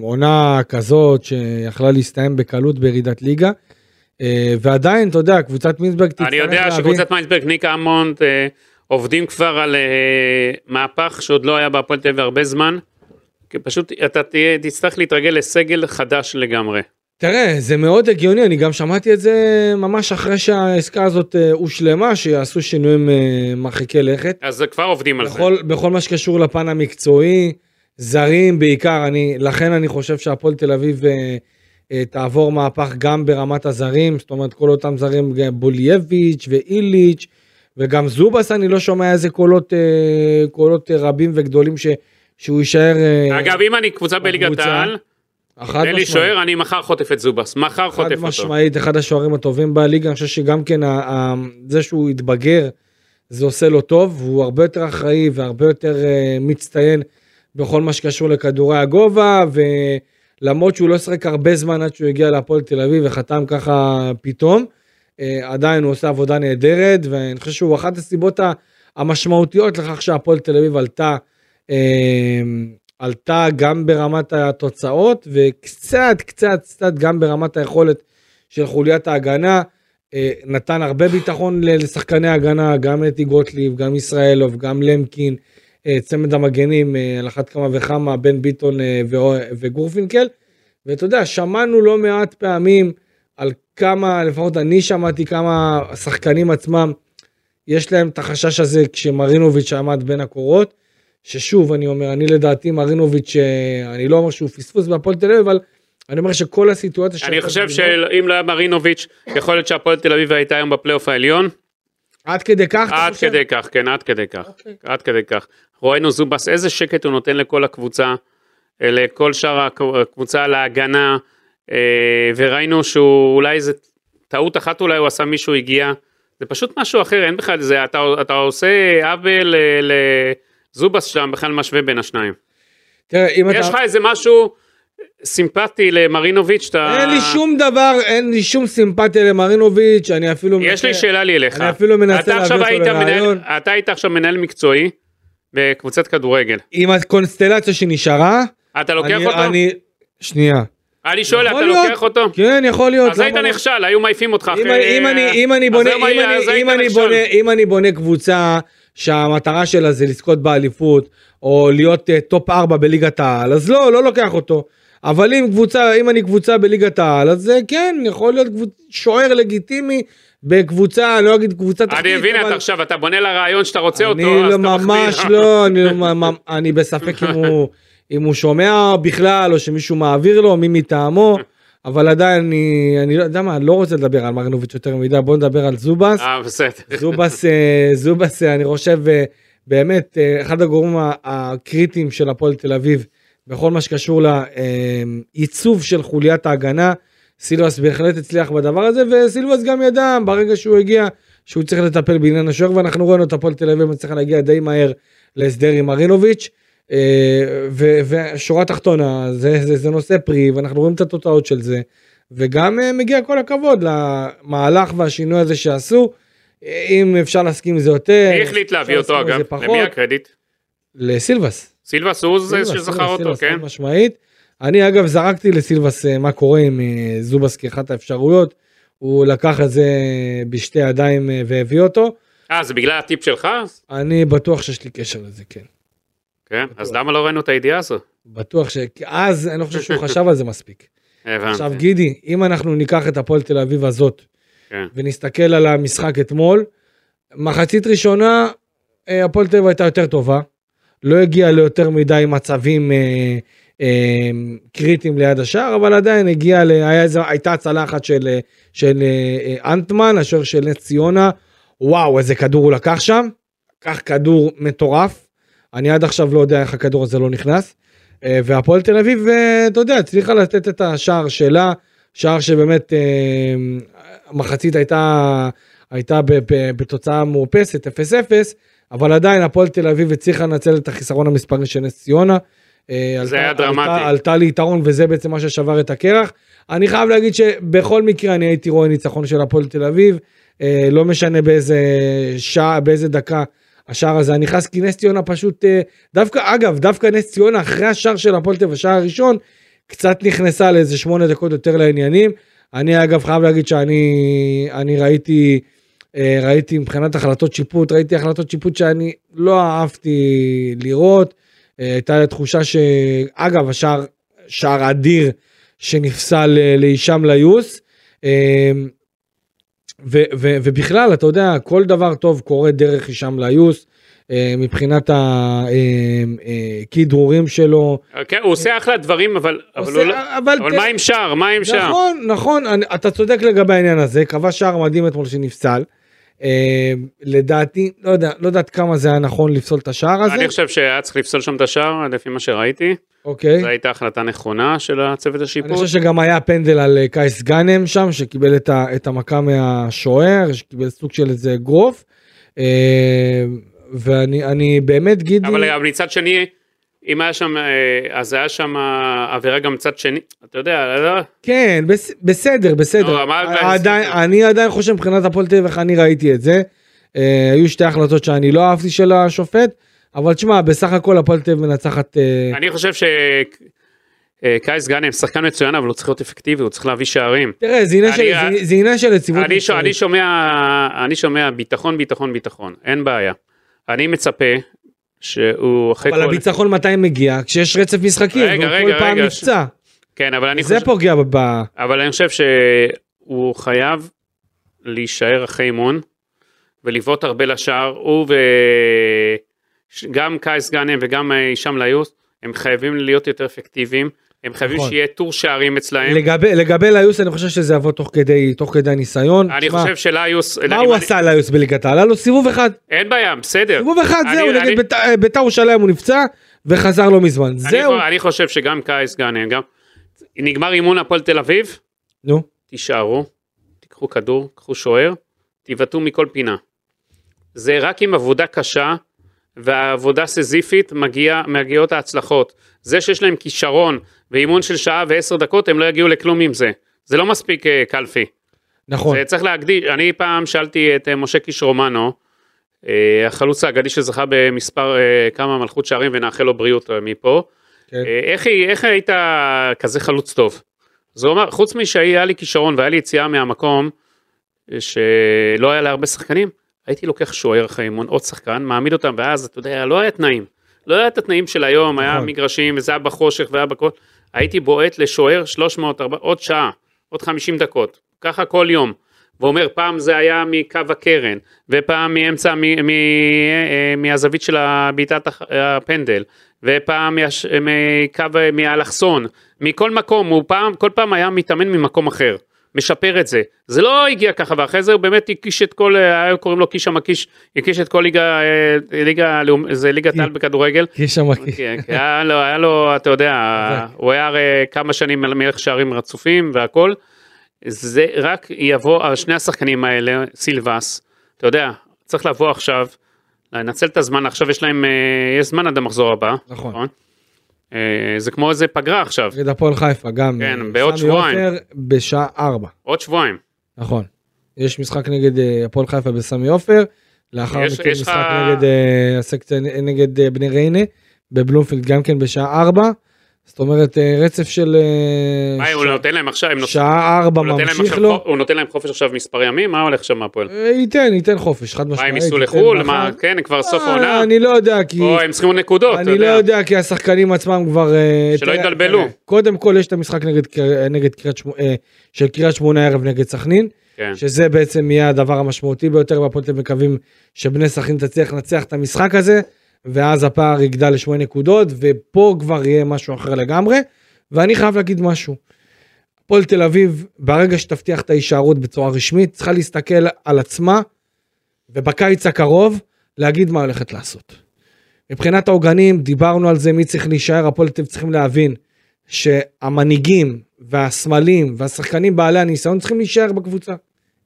Speaker 2: עונה כזאת שיכלה להסתיים בקלות בירידת ליגה, אה, ועדיין, אתה יודע, קבוצת מינסברג תצטרך
Speaker 3: אני
Speaker 2: להביא...
Speaker 3: יודע שקבוצת מיינסברג, ניקה אמונט, אה, עובדים כבר על אה, מהפך שעוד לא היה בהפועל תל אביב הרבה זמן. כי פשוט אתה תהיה, תצטרך להתרגל לסגל חדש לגמרי.
Speaker 2: תראה, זה מאוד הגיוני, אני גם שמעתי את זה ממש אחרי שהעסקה הזאת אה, הושלמה, שיעשו שינויים אה, מרחיקי לכת.
Speaker 3: אז כבר עובדים על זה.
Speaker 2: בכל, בכל מה שקשור לפן המקצועי, זרים בעיקר, אני, לכן אני חושב שהפועל תל אביב אה, אה, תעבור מהפך גם ברמת הזרים, זאת אומרת כל אותם זרים, גם בולייביץ' ואיליץ', וגם זובס, אני לא שומע איזה קולות, אה, קולות אה, רבים וגדולים ש, שהוא יישאר... אה,
Speaker 3: אגב, אם אני קבוצה בליגת
Speaker 2: בקבוצה,
Speaker 3: העל,
Speaker 2: חד
Speaker 3: תן לי
Speaker 2: משמעית.
Speaker 3: שוער, אני מחר חוטף את זובס. מחר
Speaker 2: חד
Speaker 3: חוטף אותו.
Speaker 2: משמעית אחד השוערים הטובים בליגה אני חושב שגם כן ה- ה- זה שהוא התבגר זה עושה לו טוב והוא הרבה יותר אחראי והרבה יותר אה, מצטיין בכל מה שקשור לכדורי הגובה ולמרות שהוא לא שחק הרבה זמן עד שהוא הגיע להפועל תל אביב וחתם ככה פתאום אה, עדיין הוא עושה עבודה נהדרת ואני חושב שהוא אחת הסיבות ה- המשמעותיות לכך שהפועל תל אביב עלתה. אה, עלתה גם ברמת התוצאות וקצת קצת קצת גם ברמת היכולת של חוליית ההגנה. אה, נתן הרבה ביטחון ל- לשחקני הגנה, גם אתי גוטליב, גם ישראלוב, גם למקין, אה, צמד המגנים, אה, על אחת כמה וכמה, בן ביטון אה, ו- וגורפינקל. ואתה יודע, שמענו לא מעט פעמים על כמה, לפחות אני שמעתי כמה השחקנים עצמם, יש להם את החשש הזה כשמרינוביץ' עמד בין הקורות. ששוב אני אומר אני לדעתי מרינוביץ' אה, אני לא אומר שהוא פספוס בהפועל תל אביב אבל אני אומר שכל הסיטואציה
Speaker 3: אני
Speaker 2: שהייתה
Speaker 3: חושב
Speaker 2: סביבו-
Speaker 3: שאם לא היה מרינוביץ', יכול להיות שהפועל תל אביב הייתה היום בפלייאוף העליון.
Speaker 2: עד כדי כך אתה
Speaker 3: עד
Speaker 2: חושב?
Speaker 3: כדי כך, כן, עד כדי כך.
Speaker 2: אוקיי.
Speaker 3: עד כדי כך. רואינו זובס, איזה שקט הוא נותן לכל הקבוצה, אה, לכל שאר הקב- הקבוצה, להגנה, אה, וראינו שהוא אולי איזה טעות אחת אולי הוא עשה מישהו הגיע, זה פשוט משהו אחר, אין בכלל, זה, אתה, אתה עושה עוול אה, לזובס שם, בכלל משווה בין השניים.
Speaker 2: תראה אם
Speaker 3: יש לך
Speaker 2: אתה
Speaker 3: איזה משהו סימפטי למרינוביץ', אתה...
Speaker 2: אין לי שום דבר, אין לי שום סימפתיה למרינוביץ', אני אפילו...
Speaker 3: יש
Speaker 2: מנסה-
Speaker 3: לי שאלה לי אליך.
Speaker 2: אני אפילו מנסה
Speaker 3: אתה עכשיו
Speaker 2: להביא אותו
Speaker 3: היית מנהל-
Speaker 2: לרעיון.
Speaker 3: אתה היית עכשיו מנהל מקצועי בקבוצת כדורגל.
Speaker 2: עם הקונסטלציה שנשארה,
Speaker 3: אתה לוקח
Speaker 2: אני-
Speaker 3: אותו?
Speaker 2: אני... שנייה.
Speaker 3: אני שואל,
Speaker 2: יכול
Speaker 3: אתה
Speaker 2: להיות.
Speaker 3: לוקח אותו?
Speaker 2: כן, יכול להיות.
Speaker 3: אז היית
Speaker 2: למה לא?
Speaker 3: נכשל, היו מעיפים אותך.
Speaker 2: אם
Speaker 3: אחרי-
Speaker 2: אני- אם אני- אם אני
Speaker 3: אה, אז
Speaker 2: בונה-
Speaker 3: היום
Speaker 2: אם
Speaker 3: היה-
Speaker 2: אני-
Speaker 3: אז היית
Speaker 2: אם אני
Speaker 3: נכשל.
Speaker 2: בונה- אם אני בונה קבוצה שהמטרה שלה זה לזכות באליפות, או להיות אה, טופ 4 בליגת העל, אז לא, לא לוקח אותו. אבל אם קבוצה, אם אני קבוצה בליגת העל, אז זה כן, יכול להיות קבוצ... שוער לגיטימי בקבוצה, אני לא אגיד קבוצה תחתית,
Speaker 3: אני מבין,
Speaker 2: אבל-
Speaker 3: אתה עכשיו, אתה בונה לרעיון שאתה רוצה אותו,
Speaker 2: אני לא
Speaker 3: אז אתה
Speaker 2: ממש
Speaker 3: מחמיא.
Speaker 2: לא, אני, לא ממ- אני בספק אם הוא, אם הוא שומע בכלל, או שמישהו מעביר לו, מי מטעמו, אבל עדיין אני, אני לא יודע מה, אני לא רוצה לדבר על מרנוביץ' יותר מדי, בוא נדבר על זובס.
Speaker 3: אה, בסדר.
Speaker 2: זובס, אה, זובס, אה, אני חושב, אה, באמת, אה, אחד הגורמים ה- הקריטיים של הפועל תל אביב, בכל מה שקשור לעיצוב של חוליית ההגנה, סילבס בהחלט הצליח בדבר הזה, וסילבס גם ידע ברגע שהוא הגיע שהוא צריך לטפל בעניין השוער, ואנחנו רואים את הפועל תל אביב מצליחה להגיע די מהר להסדר עם מרינוביץ'. אה, ו- ושורה תחתונה, זה, זה, זה נושא פרי, ואנחנו רואים את התוצאות של זה, וגם אה, מגיע כל הכבוד למהלך והשינוי הזה שעשו. אה, אם אפשר להסכים עם זה יותר,
Speaker 3: מי החליט
Speaker 2: אפשר
Speaker 3: להביא אותו
Speaker 2: להסכים עם
Speaker 3: אגב?
Speaker 2: זה פחות.
Speaker 3: למי הקרדיט?
Speaker 2: לסילבס.
Speaker 3: סילבס הוא זה
Speaker 2: סילבס,
Speaker 3: שזכר
Speaker 2: סילבס,
Speaker 3: אותו,
Speaker 2: סילבס,
Speaker 3: כן?
Speaker 2: חד משמעית. אני אגב זרקתי לסילבס אה, מה קורה עם אה, זובס כאחת האפשרויות, הוא לקח את זה בשתי ידיים אה, והביא אותו,
Speaker 3: אה, זה בגלל הטיפ שלך?
Speaker 2: אני בטוח שיש לי קשר לזה, כן.
Speaker 3: כן, אז למה לא ראינו את הידיעה הזו?
Speaker 2: בטוח ש... כי אז אני לא חושב שהוא חשב על זה מספיק. עכשיו
Speaker 3: הבנתי.
Speaker 2: גידי, אם אנחנו ניקח את הפועל תל אביב הזאת,
Speaker 3: כן.
Speaker 2: ונסתכל על המשחק אתמול, מחצית ראשונה, אה, הפועל תל אביב הייתה יותר טובה, לא הגיעה ליותר מדי מצבים אה, אה, קריטיים ליד השער, אבל עדיין הגיעה, ל... היה איזה... הייתה הצלה אחת של, אה, של אה, אה, אנטמן, השוער של נס ציונה, וואו, איזה כדור הוא לקח שם, לקח כדור מטורף, אני עד עכשיו לא יודע איך הכדור הזה לא נכנס. אה, והפועל תל אביב, אה, אתה יודע, הצליחה לתת את השער שלה, שער שבאמת אה, המחצית הייתה, הייתה ב- ב- בתוצאה מאופסת, 0-0, אבל עדיין הפועל תל אביב הצליחה לנצל את החיסרון המספרי של נס ציונה. אה,
Speaker 3: זה
Speaker 2: עלתה-
Speaker 3: היה דרמטי.
Speaker 2: עלתה, עלתה ליתרון וזה בעצם מה ששבר את הקרח. אני חייב להגיד שבכל מקרה אני הייתי רואה ניצחון של הפועל תל אביב, אה, לא משנה באיזה שעה, באיזה דקה השער הזה היה נכנס, כי נס ציונה פשוט, אה, דווקא, אגב, דווקא נס ציונה אחרי השער של הפועל תל אביב, השער הראשון, קצת נכנסה לאיזה שמונה דקות יותר לעניינים. אני אגב חייב להגיד שאני אני ראיתי, אה, ראיתי מבחינת החלטות שיפוט, ראיתי החלטות שיפוט שאני לא אהבתי לראות. אה, הייתה לי תחושה ש... אגב, השער, שער אדיר שנפסל אה, להישאם ליוס. אה, ו- ו- ובכלל, אתה יודע, כל דבר טוב קורה דרך הישאם ליוס. אה, מבחינת הכדרורים שלו,
Speaker 3: כן, הוא עושה אחלה דברים, אבל אבל
Speaker 2: עושה-
Speaker 3: הוא לא-
Speaker 2: אבל
Speaker 3: אבל
Speaker 2: תן-
Speaker 3: מה עם שער? מה עם שער?
Speaker 2: נכון, נכון, אני, אתה צודק לגבי העניין הזה, קבע שער מדהים אתמול שנפסל. אה, לדעתי, לא יודע, לא יודעת כמה זה היה נכון לפסול את השער הזה.
Speaker 3: אני חושב שהיה צריך לפסול שם את השער, לפי מה שראיתי.
Speaker 2: אוקיי.
Speaker 3: זו הייתה החלטה נכונה של הצוות
Speaker 2: אני
Speaker 3: השיפוט.
Speaker 2: חושב שגם היה פנדל על אה, קייס גאנם שם, שקיבל את, ה, את המכה מהשוער, שקיבל סוג של איזה אגרוף. אה, ואני אני באמת, גידי,
Speaker 3: אבל אבל מצד שני, אם היה שם, אה, אז היה שם עבירה גם מצד שני, אתה יודע, לא-
Speaker 2: כן, בס, בסדר, בסדר.
Speaker 3: נו, לא, מה-
Speaker 2: עדיין, אני עדיין חושב מבחינת הפועל תל אביב, איך אני ראיתי את זה. אה, היו שתי החלטות שאני לא אהבתי של השופט, אבל תשמע, בסך הכל הפועל תל אביב מנצחת... אה,
Speaker 3: אני חושב שקייס גאנם שחקן מצוין, אבל הוא צריך להיות אפקטיבי, הוא צריך להביא שערים.
Speaker 2: תראה, זה עניין
Speaker 3: אני-
Speaker 2: של- זה- זה עניין של יציבות.
Speaker 3: אני, ש...
Speaker 2: מקצועית.
Speaker 3: אני, שומע, אני שומע ביטחון, ביטחון, ביטחון, אין בעיה. אני מצפה שהוא אחרי
Speaker 2: אבל
Speaker 3: כל...
Speaker 2: הביטחון מתי מגיע? כשיש רצף משחקים,
Speaker 3: רגע,
Speaker 2: והוא
Speaker 3: רגע,
Speaker 2: כל פעם
Speaker 3: רגע,
Speaker 2: נפצע.
Speaker 3: כן, אבל אני,
Speaker 2: זה
Speaker 3: חושב,
Speaker 2: פוגע ב... ב-
Speaker 3: אבל אני חושב שהוא חייב להישאר אחרי אימון ולבעוט הרבה לשער. הוא ו... ש- גם קייס גאנם וגם אה, הישאם ליוס, הם חייבים להיות יותר אפקטיביים. הם חייבים
Speaker 2: נכון.
Speaker 3: שיהיה טור שערים אצלהם.
Speaker 2: לגבי- לגבי ליוס, אני חושב שזה יבוא תוך כדי- תוך כדי הניסיון.
Speaker 3: אני
Speaker 2: תשמע,
Speaker 3: חושב שליוס...
Speaker 2: מה
Speaker 3: אני-
Speaker 2: הוא עשה ליוס בליגת העל? היה לו סיבוב אחד.
Speaker 3: אין בעיה, בסדר.
Speaker 2: סיבוב אחד,
Speaker 3: אני-
Speaker 2: זהו,
Speaker 3: אני-
Speaker 2: נגד בית"ר- בית"ר ירושלים הוא נפצע, וחזר לא מזמן. זהו.
Speaker 3: אני, אני חושב שגם קייס גאנם, גם... נגמר אימון הפועל תל אביב,
Speaker 2: נו.
Speaker 3: תישארו, תיקחו כדור, קחו שוער, תבעטו מכל פינה. זה רק עם עבודה קשה והעבודה סזיפית מגיע, מגיעות ההצלחות. זה שיש להם כישרון ואימון של שעה ועשר דקות הם לא יגיעו לכלום עם זה. זה לא מספיק אה, קלפי.
Speaker 2: נכון.
Speaker 3: זה צריך להקדיש, אני פעם שאלתי את אה, משה קיש רומנו, אה, החלוץ האגדי שזכה במספר אה, כמה מלכות שערים ונאחל לו בריאות אה, מפה,
Speaker 2: כן.
Speaker 3: אה, איך, היא- איך היית כזה חלוץ טוב? אז הוא אמר, חוץ משהיה לי כישרון והיה לי יציאה מהמקום, אה, שלא היה להרבה שחקנים, הייתי לוקח שוער אחרי אימון, עוד שחקן, מעמיד אותם, ואז אתה יודע, לא היה תנאים. לא היה את התנאים של היום, היה
Speaker 2: נכון.
Speaker 3: מגרשים, וזה היה בחושך והיה בכל, הייתי בועט לשוער 300, 400, עוד שעה, עוד 50 דקות, ככה כל יום. ואומר, פעם זה היה מקו הקרן, ופעם מאמצע, מ, מ, אה, מהזווית של בעיטת הח- הפנדל, ופעם מהש- מקו, מהאלכסון, מכל מקום, הוא פעם, כל פעם היה מתאמן ממקום אחר, משפר את זה. זה לא הגיע ככה, ואחרי זה הוא באמת הקיש את כל, אה, היו קוראים לו קיש המקיש, הקיש את כל ליגה, אה, ליגה, לאומ- זה ליגת העל בכדורגל,
Speaker 2: כי יש שם...
Speaker 3: כן, כן, היה לו, היה לו, אתה יודע,
Speaker 2: חזק.
Speaker 3: הוא היה הרי כמה שנים מלך שערים רצופים והכל. זה רק יבוא, שני השחקנים האלה, סילבס, אתה יודע, צריך לבוא עכשיו, לנצל את הזמן, עכשיו יש להם, אה, יש זמן עד המחזור הבא.
Speaker 2: נכון.
Speaker 3: אה, זה כמו איזה פגרה עכשיו,
Speaker 2: נגד הפועל חיפה גם. אה,
Speaker 3: כן,
Speaker 2: סמי
Speaker 3: בעוד שבועיים.
Speaker 2: עופר בשעה ארבע.
Speaker 3: עוד שבועיים.
Speaker 2: נכון. יש משחק נגד אה, הפועל חיפה בסמי עופר, לאחר
Speaker 3: יש-
Speaker 2: מכן
Speaker 3: יש
Speaker 2: משחק
Speaker 3: לך-
Speaker 2: נגד, אה, הסקציה, נגד אה, בני ריינה, בבלומפילד גם כן בשעה ארבע. זאת אומרת אה, רצף של אה,
Speaker 3: מה, הוא
Speaker 2: שע-
Speaker 3: נותן להם עכשיו, הם נותן-
Speaker 2: שעה ארבע
Speaker 3: הוא נותן להם
Speaker 2: ממשיך
Speaker 3: עכשיו
Speaker 2: לו.
Speaker 3: חופ- הוא נותן להם חופש עכשיו מספר ימים, מה הולך שם הפועל?
Speaker 2: אה, ייתן, ייתן חופש, חד
Speaker 3: מה,
Speaker 2: משמעית.
Speaker 3: הם ייסעו
Speaker 2: ייתן
Speaker 3: לחו"ל?
Speaker 2: מחר.
Speaker 3: מה, כן, כבר סוף
Speaker 2: אה,
Speaker 3: העונה?
Speaker 2: אני לא יודע, כי...
Speaker 3: או הם צריכים נקודות, אתה
Speaker 2: אני לא
Speaker 3: יודע.
Speaker 2: יודע כי השחקנים עצמם כבר... אה,
Speaker 3: שלא
Speaker 2: תראה,
Speaker 3: יתבלבלו.
Speaker 2: תראה, קודם כל יש את המשחק נגד קר- נגד קריית שמונה, של קריית שמונה הערב נגד סכנין,
Speaker 3: כן.
Speaker 2: שזה בעצם יהיה הדבר המשמעותי ביותר, והפועל תל אביב מקווים שבני סכנין תצליח לנצח את המשחק הזה, ואז הפער יגדל לשמונה נקודות, ופה כבר יהיה משהו אחר לגמרי. ואני חייב להגיד משהו. הפועל תל אביב, ברגע שתבטיח את ההישארות בצורה רשמית, צריכה להסתכל על עצמה, ובקיץ הקרוב, להגיד מה הולכת לעשות. מבחינת העוגנים, דיברנו על זה, מי צריך להישאר, הפועל תל אביב צריכים להבין שהמנהיגים והסמלים והשחקנים בעלי הניסיון צריכים להישאר בקבוצה.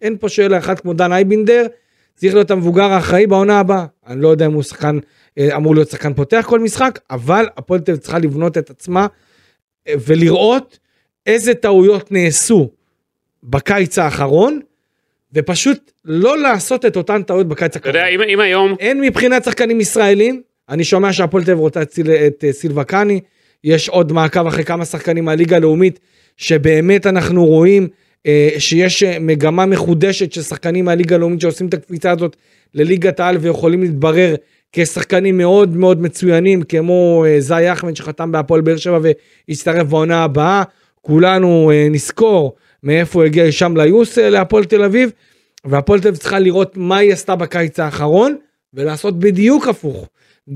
Speaker 2: אין פה שאלה אחת כמו דן אייבינדר, צריך להיות המבוגר האחראי בעונה הבאה. אני לא יודע אם הוא שחקן, אה, אמור להיות שחקן פותח כל משחק, אבל הפועל תל אביב צריכה לבנות את עצמה אה, ולראות איזה טעויות נעשו בקיץ האחרון, ופשוט לא לעשות את אותן טעויות בקיץ
Speaker 3: אתה
Speaker 2: הקרוב.
Speaker 3: יודע, אם אם היום,
Speaker 2: אין מבחינת שחקנים ישראלים, אני שומע שהפועל תל אביב רוצה להציל את אה, סילבה קאני, יש עוד מעקב אחרי כמה שחקנים מהליגה הלאומית, שבאמת אנחנו רואים אה, שיש אה, מגמה מחודשת של שחקנים מהליגה הלאומית שעושים את הקפיצה הזאת לליגת העל ויכולים להתברר כשחקנים מאוד מאוד מצוינים, כמו אה, זאי אחמד שחתם בהפועל באר שבע והצטרף בעונה הבאה, כולנו אה, נזכור מאיפה הוא הגיע הישאם ליוס אה, להפועל תל אביב, והפועל תל אביב צריכה לראות מה היא עשתה בקיץ האחרון, ולעשות בדיוק הפוך.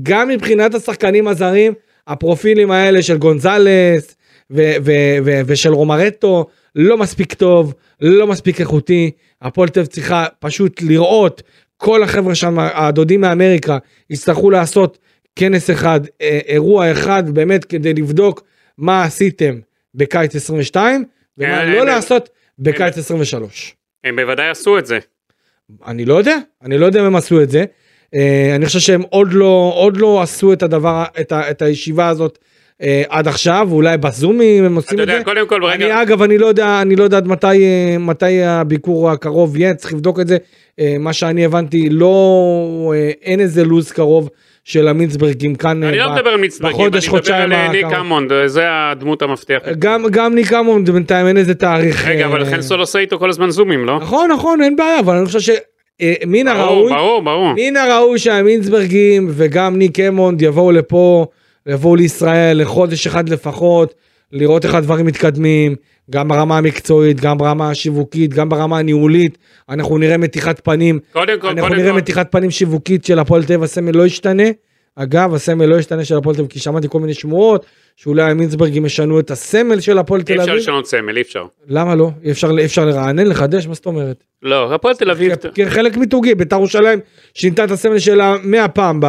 Speaker 2: גם מבחינת השחקנים הזרים, הפרופילים האלה של גונזלס ו- ו- ו- ושל רומרטו, לא מספיק טוב, לא מספיק איכותי. הפועל תל אביב צריכה פשוט לראות, כל החבר'ה שם, הדודים מאמריקה, יצטרכו לעשות כנס אחד, אה, אירוע אחד, באמת כדי לבדוק מה עשיתם בקיץ 22, ומה
Speaker 3: אה,
Speaker 2: לא
Speaker 3: אה,
Speaker 2: לעשות בקיץ 23.
Speaker 3: הם בוודאי עשו את זה.
Speaker 2: אה, אני לא יודע, אני לא יודע אם הם עשו את זה. אה, אני חושב שהם עוד לא, עוד לא עשו את הדבר, את, ה, את הישיבה הזאת אה, עד עכשיו, ואולי בזומים הם עושים
Speaker 3: אתה
Speaker 2: את זה.
Speaker 3: יודע, קודם כל, רגע,
Speaker 2: אני אגב, אני לא יודע, אני לא יודע עד מתי, אה, מתי הביקור הקרוב יהיה, צריך לבדוק את זה. אה, מה שאני הבנתי, לא, אה, אין איזה לו"ז קרוב של המינצברגים כאן. אה,
Speaker 3: אני לא
Speaker 2: ב-
Speaker 3: מדבר על מצטרפים, אני
Speaker 2: בחודש,
Speaker 3: מדבר
Speaker 2: חודשיים
Speaker 3: על אה, ניק
Speaker 2: הקרוב. אה,
Speaker 3: אמונד, זה הדמות המפתח.
Speaker 2: גם, גם ניק אמונד בינתיים אין איזה תאריך.
Speaker 3: רגע, אבל
Speaker 2: אה,
Speaker 3: חן סול עושה איתו כל הזמן זומים, לא?
Speaker 2: נכון, נכון, אין בעיה, אבל אני חושב שמן
Speaker 3: ברור,
Speaker 2: הראוי,
Speaker 3: ברור, ברור.
Speaker 2: מן הראוי שהמינסברגים וגם ניק אמונד יבואו לפה, יבואו לישראל לחודש אחד לפחות, לראות איך הדברים מתקדמים, גם ברמה המקצועית, גם ברמה השיווקית, גם ברמה הניהולית. אנחנו נראה מתיחת פנים,
Speaker 3: קודם כל,
Speaker 2: אנחנו
Speaker 3: קודם
Speaker 2: נראה
Speaker 3: כל,
Speaker 2: מתיחת פנים שיווקית של הפועל תל אביב, הסמל לא ישתנה. אגב, הסמל לא ישתנה של הפועל תל אביב, כי שמעתי כל מיני שמועות, שאולי המינסברגים ישנו את הסמל של הפועל
Speaker 3: אי
Speaker 2: תל
Speaker 3: אפשר
Speaker 2: אביב.
Speaker 3: לשנות סמל, אי אפשר.
Speaker 2: למה לא? אי אפשר, אי אפשר לרענן, לחדש, מה זאת אומרת?
Speaker 3: לא, הפועל תל אביב,
Speaker 2: כ- כחלק מיתוגי, בית"ר ירושלים שינתה את הסמל שלה 100 פעם ב...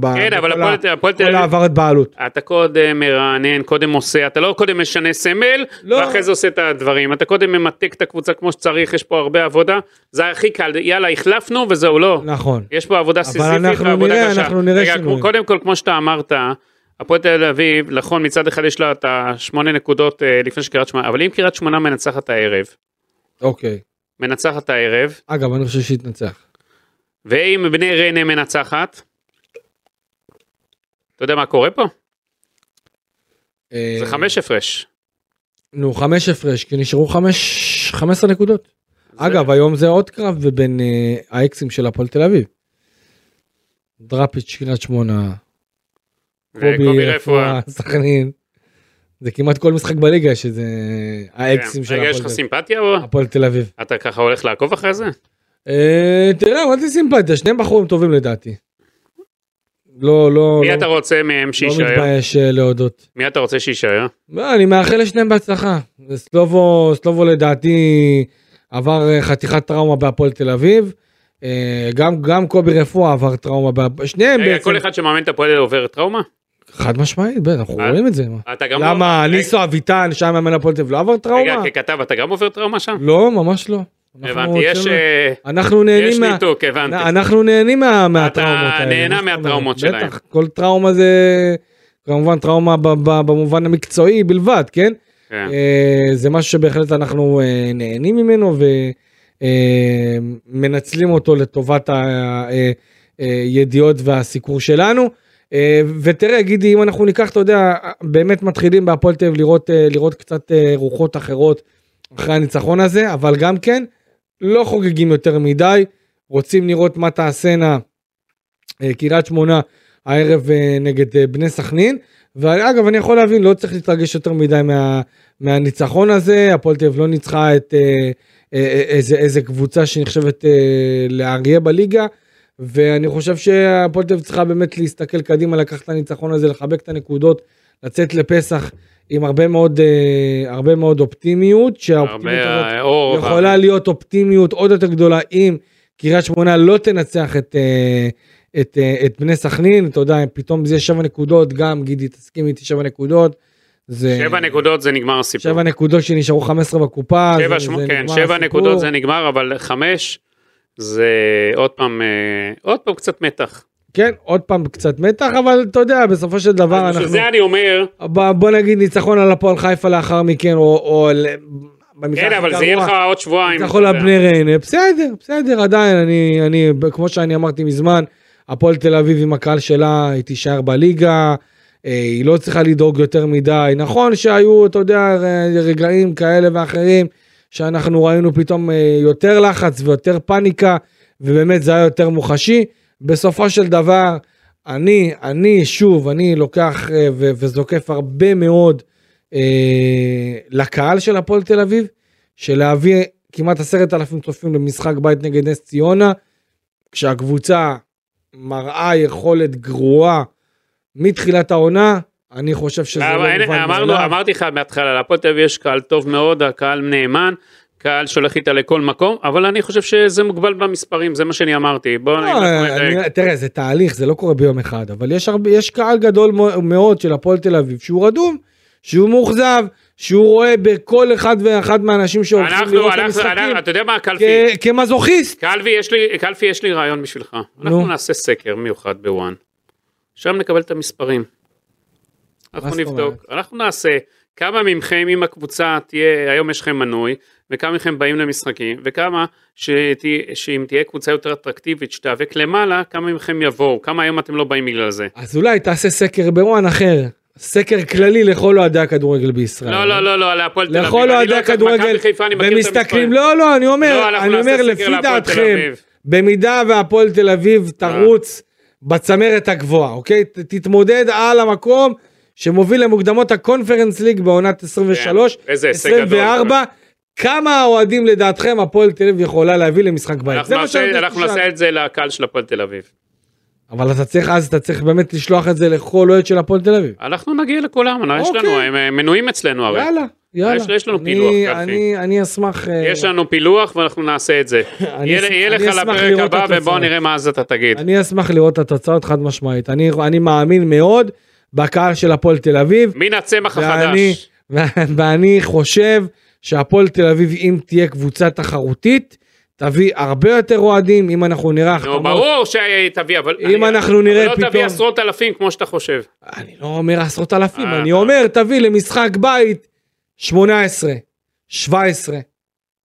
Speaker 2: ב-
Speaker 3: כן, אבל
Speaker 2: בכל
Speaker 3: הפועל-
Speaker 2: ה-
Speaker 3: הפועל תל
Speaker 2: כל
Speaker 3: אביב-
Speaker 2: העברת בעלות.
Speaker 3: אתה קודם מרענן, קודם עושה, אתה לא קודם משנה סמל,
Speaker 2: לא.
Speaker 3: ואחרי זה עושה את הדברים. אתה קודם ממתק את הקבוצה כמו שצריך, יש פה הרבה עבודה, זה הכי קל, יאללה, החלפנו וזהו, לא.
Speaker 2: נכון.
Speaker 3: יש פה עבודה
Speaker 2: אבל
Speaker 3: סיזיפית
Speaker 2: אנחנו
Speaker 3: ועבודה
Speaker 2: נראה,
Speaker 3: קשה.
Speaker 2: אנחנו נראה
Speaker 3: רגע,
Speaker 2: שינויים.
Speaker 3: קודם כל, כמו שאתה אמרת, הפועל תל אביב, נכון, מצד אחד יש לה את השמונה נקודות אה, לפני שקריית שמונה, אבל אם קריית שמונה מנצחת הערב,
Speaker 2: אוקיי.
Speaker 3: מנצחת הערב,
Speaker 2: אגב, אני חושב שהתנצח.
Speaker 3: ואם בני ריינה מנצחת, אתה יודע מה קורה פה?
Speaker 2: אה,
Speaker 3: זה חמש הפרש.
Speaker 2: נו, חמש הפרש, כי נשארו חמש, 15 נקודות.
Speaker 3: זה-
Speaker 2: אגב, היום זה עוד קרב בין אה, האקסים של הפועל תל אביב. דראפיץ', קריית שמונה,
Speaker 3: וקובי רפואה.
Speaker 2: סכנין. זה כמעט כל משחק בליגה שזה האקסים
Speaker 3: כן.
Speaker 2: של
Speaker 3: רגע,
Speaker 2: הפועל
Speaker 3: יש לך
Speaker 2: תל-
Speaker 3: סימפתיה או?
Speaker 2: הפועל תל אביב.
Speaker 3: אתה ככה הולך לעקוב אחרי זה?
Speaker 2: לא, אה, תראה, מה זה סימפתיה? שניהם בחורים טובים לדעתי. לא, לא,
Speaker 3: מי
Speaker 2: לא-
Speaker 3: אתה רוצה מהם
Speaker 2: לא
Speaker 3: שיישאר?
Speaker 2: מתבייש אה, להודות.
Speaker 3: מי אתה רוצה שיישאר?
Speaker 2: לא, אני מאחל לשניהם בהצלחה. סלובו, סלובו לדעתי עבר אה, חתיכת טראומה בהפועל תל אביב. אה, גם, גם קובי רפואה עבר טראומה, בהפ- שניהם
Speaker 3: רגע,
Speaker 2: בעצם.
Speaker 3: כל אחד שמאמן את הפועל עובר טראומה?
Speaker 2: חד משמעית, בטח, אנחנו
Speaker 3: אה?
Speaker 2: רואים את זה. מה.
Speaker 3: אתה גם... לא-
Speaker 2: למה
Speaker 3: רגע,
Speaker 2: ניסו אביטן, שהיה מאמן הפועל תל אביב, לא עבר
Speaker 3: רגע,
Speaker 2: טראומה?
Speaker 3: ככתב אתה גם עובר טראומה שם?
Speaker 2: לא, ממש לא. אנחנו
Speaker 3: הבנתי, יש...
Speaker 2: אצלנו-
Speaker 3: אה,
Speaker 2: אנחנו
Speaker 3: יש
Speaker 2: נהנים מה...
Speaker 3: ניתוק, הבנתי.
Speaker 2: אנחנו נהנים מה- מהטראומות האלה.
Speaker 3: נהנה
Speaker 2: מה זאת אומרת?
Speaker 3: מהטראומות שלהם.
Speaker 2: בטח, כל טראומה זה כמובן טראומה ב- ב- במובן המקצועי בלבד, כן?
Speaker 3: כן.
Speaker 2: אה, זה משהו שבהחלט אנחנו אה, נהנים ממנו ומנצלים אותו לטובת הידיעות והסיקור שלנו. אה, ותראה גידי אם אנחנו ניקח אתה יודע באמת מתחילים בהפועל תל אביב לראות אה, לראות קצת אה, רוחות אחרות אחרי הניצחון הזה אבל גם כן לא חוגגים יותר מדי רוצים לראות מה תעשינה אה, קריית שמונה הערב אה, נגד אה, בני סכנין ואגב אני יכול להבין לא צריך להתרגש יותר מדי מה, מהניצחון הזה הפועל תל אביב לא ניצחה את אה, אה, אה, איזה איזה קבוצה שנחשבת אה, לאריה בליגה ואני חושב שהפועל תל אביב צריכה באמת להסתכל קדימה לקחת את הניצחון הזה לחבק את הנקודות לצאת לפסח עם הרבה מאוד אה, הרבה מאוד אופטימיות שהאופטימיות הזאת
Speaker 3: הרבה אה, אור.
Speaker 2: יכולה להיות אופטימיות עוד יותר גדולה אם קריית שמונה לא תנצח את, אה, את, אה, את בני סכנין, אתה יודע, פתאום זה יהיה שבע נקודות, גם גידי תסכים איתי שבע נקודות. זה
Speaker 3: שבע נקודות זה נגמר הסיפור.
Speaker 2: שבע נקודות שנשארו 15 בקופה.
Speaker 3: שבע,
Speaker 2: זה-
Speaker 3: שמונה,
Speaker 2: זה
Speaker 3: כן,
Speaker 2: נגמר
Speaker 3: שבע
Speaker 2: הסיפור.
Speaker 3: נקודות זה נגמר, אבל חמש זה עוד פעם, אה, עוד פעם קצת מתח.
Speaker 2: כן, עוד פעם קצת מתח, אבל אתה יודע, בסופו של דבר
Speaker 3: אז בשביל
Speaker 2: אנחנו...
Speaker 3: זה אני אומר,
Speaker 2: ב- בוא נגיד ניצחון על הפועל חיפה לאחר מכן, או... או ל- במקרה
Speaker 3: כן,
Speaker 2: הכי
Speaker 3: אבל זה יהיה
Speaker 2: גרוע,
Speaker 3: לך עוד שבועיים.
Speaker 2: ניצחון
Speaker 3: אתה יודע.
Speaker 2: לבני ריינה, בסדר, בסדר, עדיין, אני, אני, כמו שאני אמרתי מזמן, הפועל תל אביב עם הקהל שלה, היא תישאר בליגה, אה, היא לא צריכה לדאוג יותר מדי. נכון שהיו, אתה יודע, ר- רגעים כאלה ואחרים, שאנחנו ראינו פתאום אה, יותר לחץ ויותר פאניקה, ובאמת זה היה יותר מוחשי. בסופו של דבר, אני, אני, שוב, אני לוקח אה, ו- וזוקף הרבה מאוד אה, לקהל של הפועל תל אביב. שלהביא כמעט עשרת אלפים צופים למשחק בית נגד נס ציונה, כשהקבוצה מראה יכולת גרועה מתחילת העונה, אני חושב שזה
Speaker 3: אבל
Speaker 2: לא
Speaker 3: אין-
Speaker 2: מובן
Speaker 3: אה, אמרנו, אמרתי לך מההתחלה, להפועל תל אביב יש קהל טוב מאוד, הקהל נאמן, קהל שהולך איתה לכל מקום, אבל אני חושב שזה מוגבל במספרים, זה מה שאני אמרתי. בואו
Speaker 2: לא,
Speaker 3: נדייק.
Speaker 2: אני- תראה, זה תהליך, זה לא קורה ביום אחד, אבל יש, הרבה, יש קהל גדול מו- מאוד של הפועל תל אביב שהוא רדום, שהוא מאוכזב, שהוא רואה בכל אחד ואחד מהאנשים שהולכים
Speaker 3: אה, אנחנו,
Speaker 2: לראות את
Speaker 3: אנחנו,
Speaker 2: המשחקים
Speaker 3: אנחנו- אתה יודע מה, קלפי,
Speaker 2: כ- כמזוכיסט.
Speaker 3: קלפי יש לי, קלפי יש לי רעיון בשבילך. אנחנו
Speaker 2: נו.
Speaker 3: נעשה סקר מיוחד בוואן. שם נקבל את המספרים. אנחנו
Speaker 2: זאת
Speaker 3: נבדוק, אנחנו נעשה כמה מכם, אם הקבוצה תהיה, היום יש לכם מנוי, וכמה מכם באים למשחקים, וכמה שתה, שאם תהיה קבוצה יותר אטרקטיבית שתיאבק למעלה, כמה מכם יבואו, כמה היום אתם לא באים בגלל זה.
Speaker 2: אז אולי תעשה סקר בוואן אחר, סקר כללי לכל אוהדי הכדורגל בישראל.
Speaker 3: לא, לא, לא, לא, על הפועל תל אביב.
Speaker 2: לכל
Speaker 3: אני
Speaker 2: אוהדי
Speaker 3: לא-
Speaker 2: הכדורגל,
Speaker 3: מכבי חיפה, אני מכיר את המספרים.
Speaker 2: ומסתכלים, לא, לא, אני
Speaker 3: לא,
Speaker 2: אומר,
Speaker 3: אנחנו
Speaker 2: אני
Speaker 3: נעשה
Speaker 2: אומר,
Speaker 3: סקר
Speaker 2: לפי
Speaker 3: להפועל תל
Speaker 2: דעתכם,
Speaker 3: אביב.
Speaker 2: במידה והפועל תל
Speaker 3: אה.
Speaker 2: אביב תרוץ בצמרת הגבוהה, אוקיי? ת- תתמודד על המקום שמוביל למוקדמות הקונפרנס ליג בעונת 23,
Speaker 3: כן, איזה הישג גדול.
Speaker 2: 24, כמה אוהדים לדעתכם הפועל תל אביב יכולה להביא למשחק בית?
Speaker 3: אנחנו
Speaker 2: זה מה
Speaker 3: נעשה-
Speaker 2: שאני רוצה
Speaker 3: אנחנו
Speaker 2: שתשאל.
Speaker 3: נעשה את זה לקהל של הפועל תל אביב.
Speaker 2: אבל אתה צריך אז, אתה צריך באמת לשלוח את זה לכל אוהד של הפועל תל אביב.
Speaker 3: אנחנו נגיע לכולם, יש
Speaker 2: אוקיי.
Speaker 3: לנו, הם אה, מנויים אצלנו הרי.
Speaker 2: יאללה, יאללה.
Speaker 3: יש- יש לנו
Speaker 2: אני-
Speaker 3: פילוח, גפני.
Speaker 2: אני- אני אשמח... אה,
Speaker 3: יש לנו פילוח ואנחנו נעשה את זה.
Speaker 2: אני
Speaker 3: יהיה
Speaker 2: אשמח-
Speaker 3: יהיה
Speaker 2: אני
Speaker 3: לך
Speaker 2: אשמח
Speaker 3: לפרק
Speaker 2: לראות
Speaker 3: הבא
Speaker 2: את
Speaker 3: ובואו
Speaker 2: התוצאות.
Speaker 3: נראה מה אז אתה תגיד.
Speaker 2: אני אשמח לראות את התוצאות חד משמעית. אני, אני מאמין מאוד בקהל של הפועל תל אביב,
Speaker 3: מן הצמח
Speaker 2: ואני,
Speaker 3: החדש.
Speaker 2: ואני חושב שהפועל תל אביב, אם תהיה קבוצה תחרותית, תביא הרבה יותר אוהדים, אם אנחנו נראה
Speaker 3: נו,
Speaker 2: החתמות.
Speaker 3: ברור שתביא, אבל...
Speaker 2: אם
Speaker 3: אני-
Speaker 2: אנחנו נראה
Speaker 3: אבל לא
Speaker 2: פתאום-
Speaker 3: תביא עשרות אלפים כמו שאתה חושב.
Speaker 2: אני לא אומר עשרות אלפים,
Speaker 3: אה,
Speaker 2: אני
Speaker 3: אה.
Speaker 2: אומר, תביא למשחק בית 18, 17,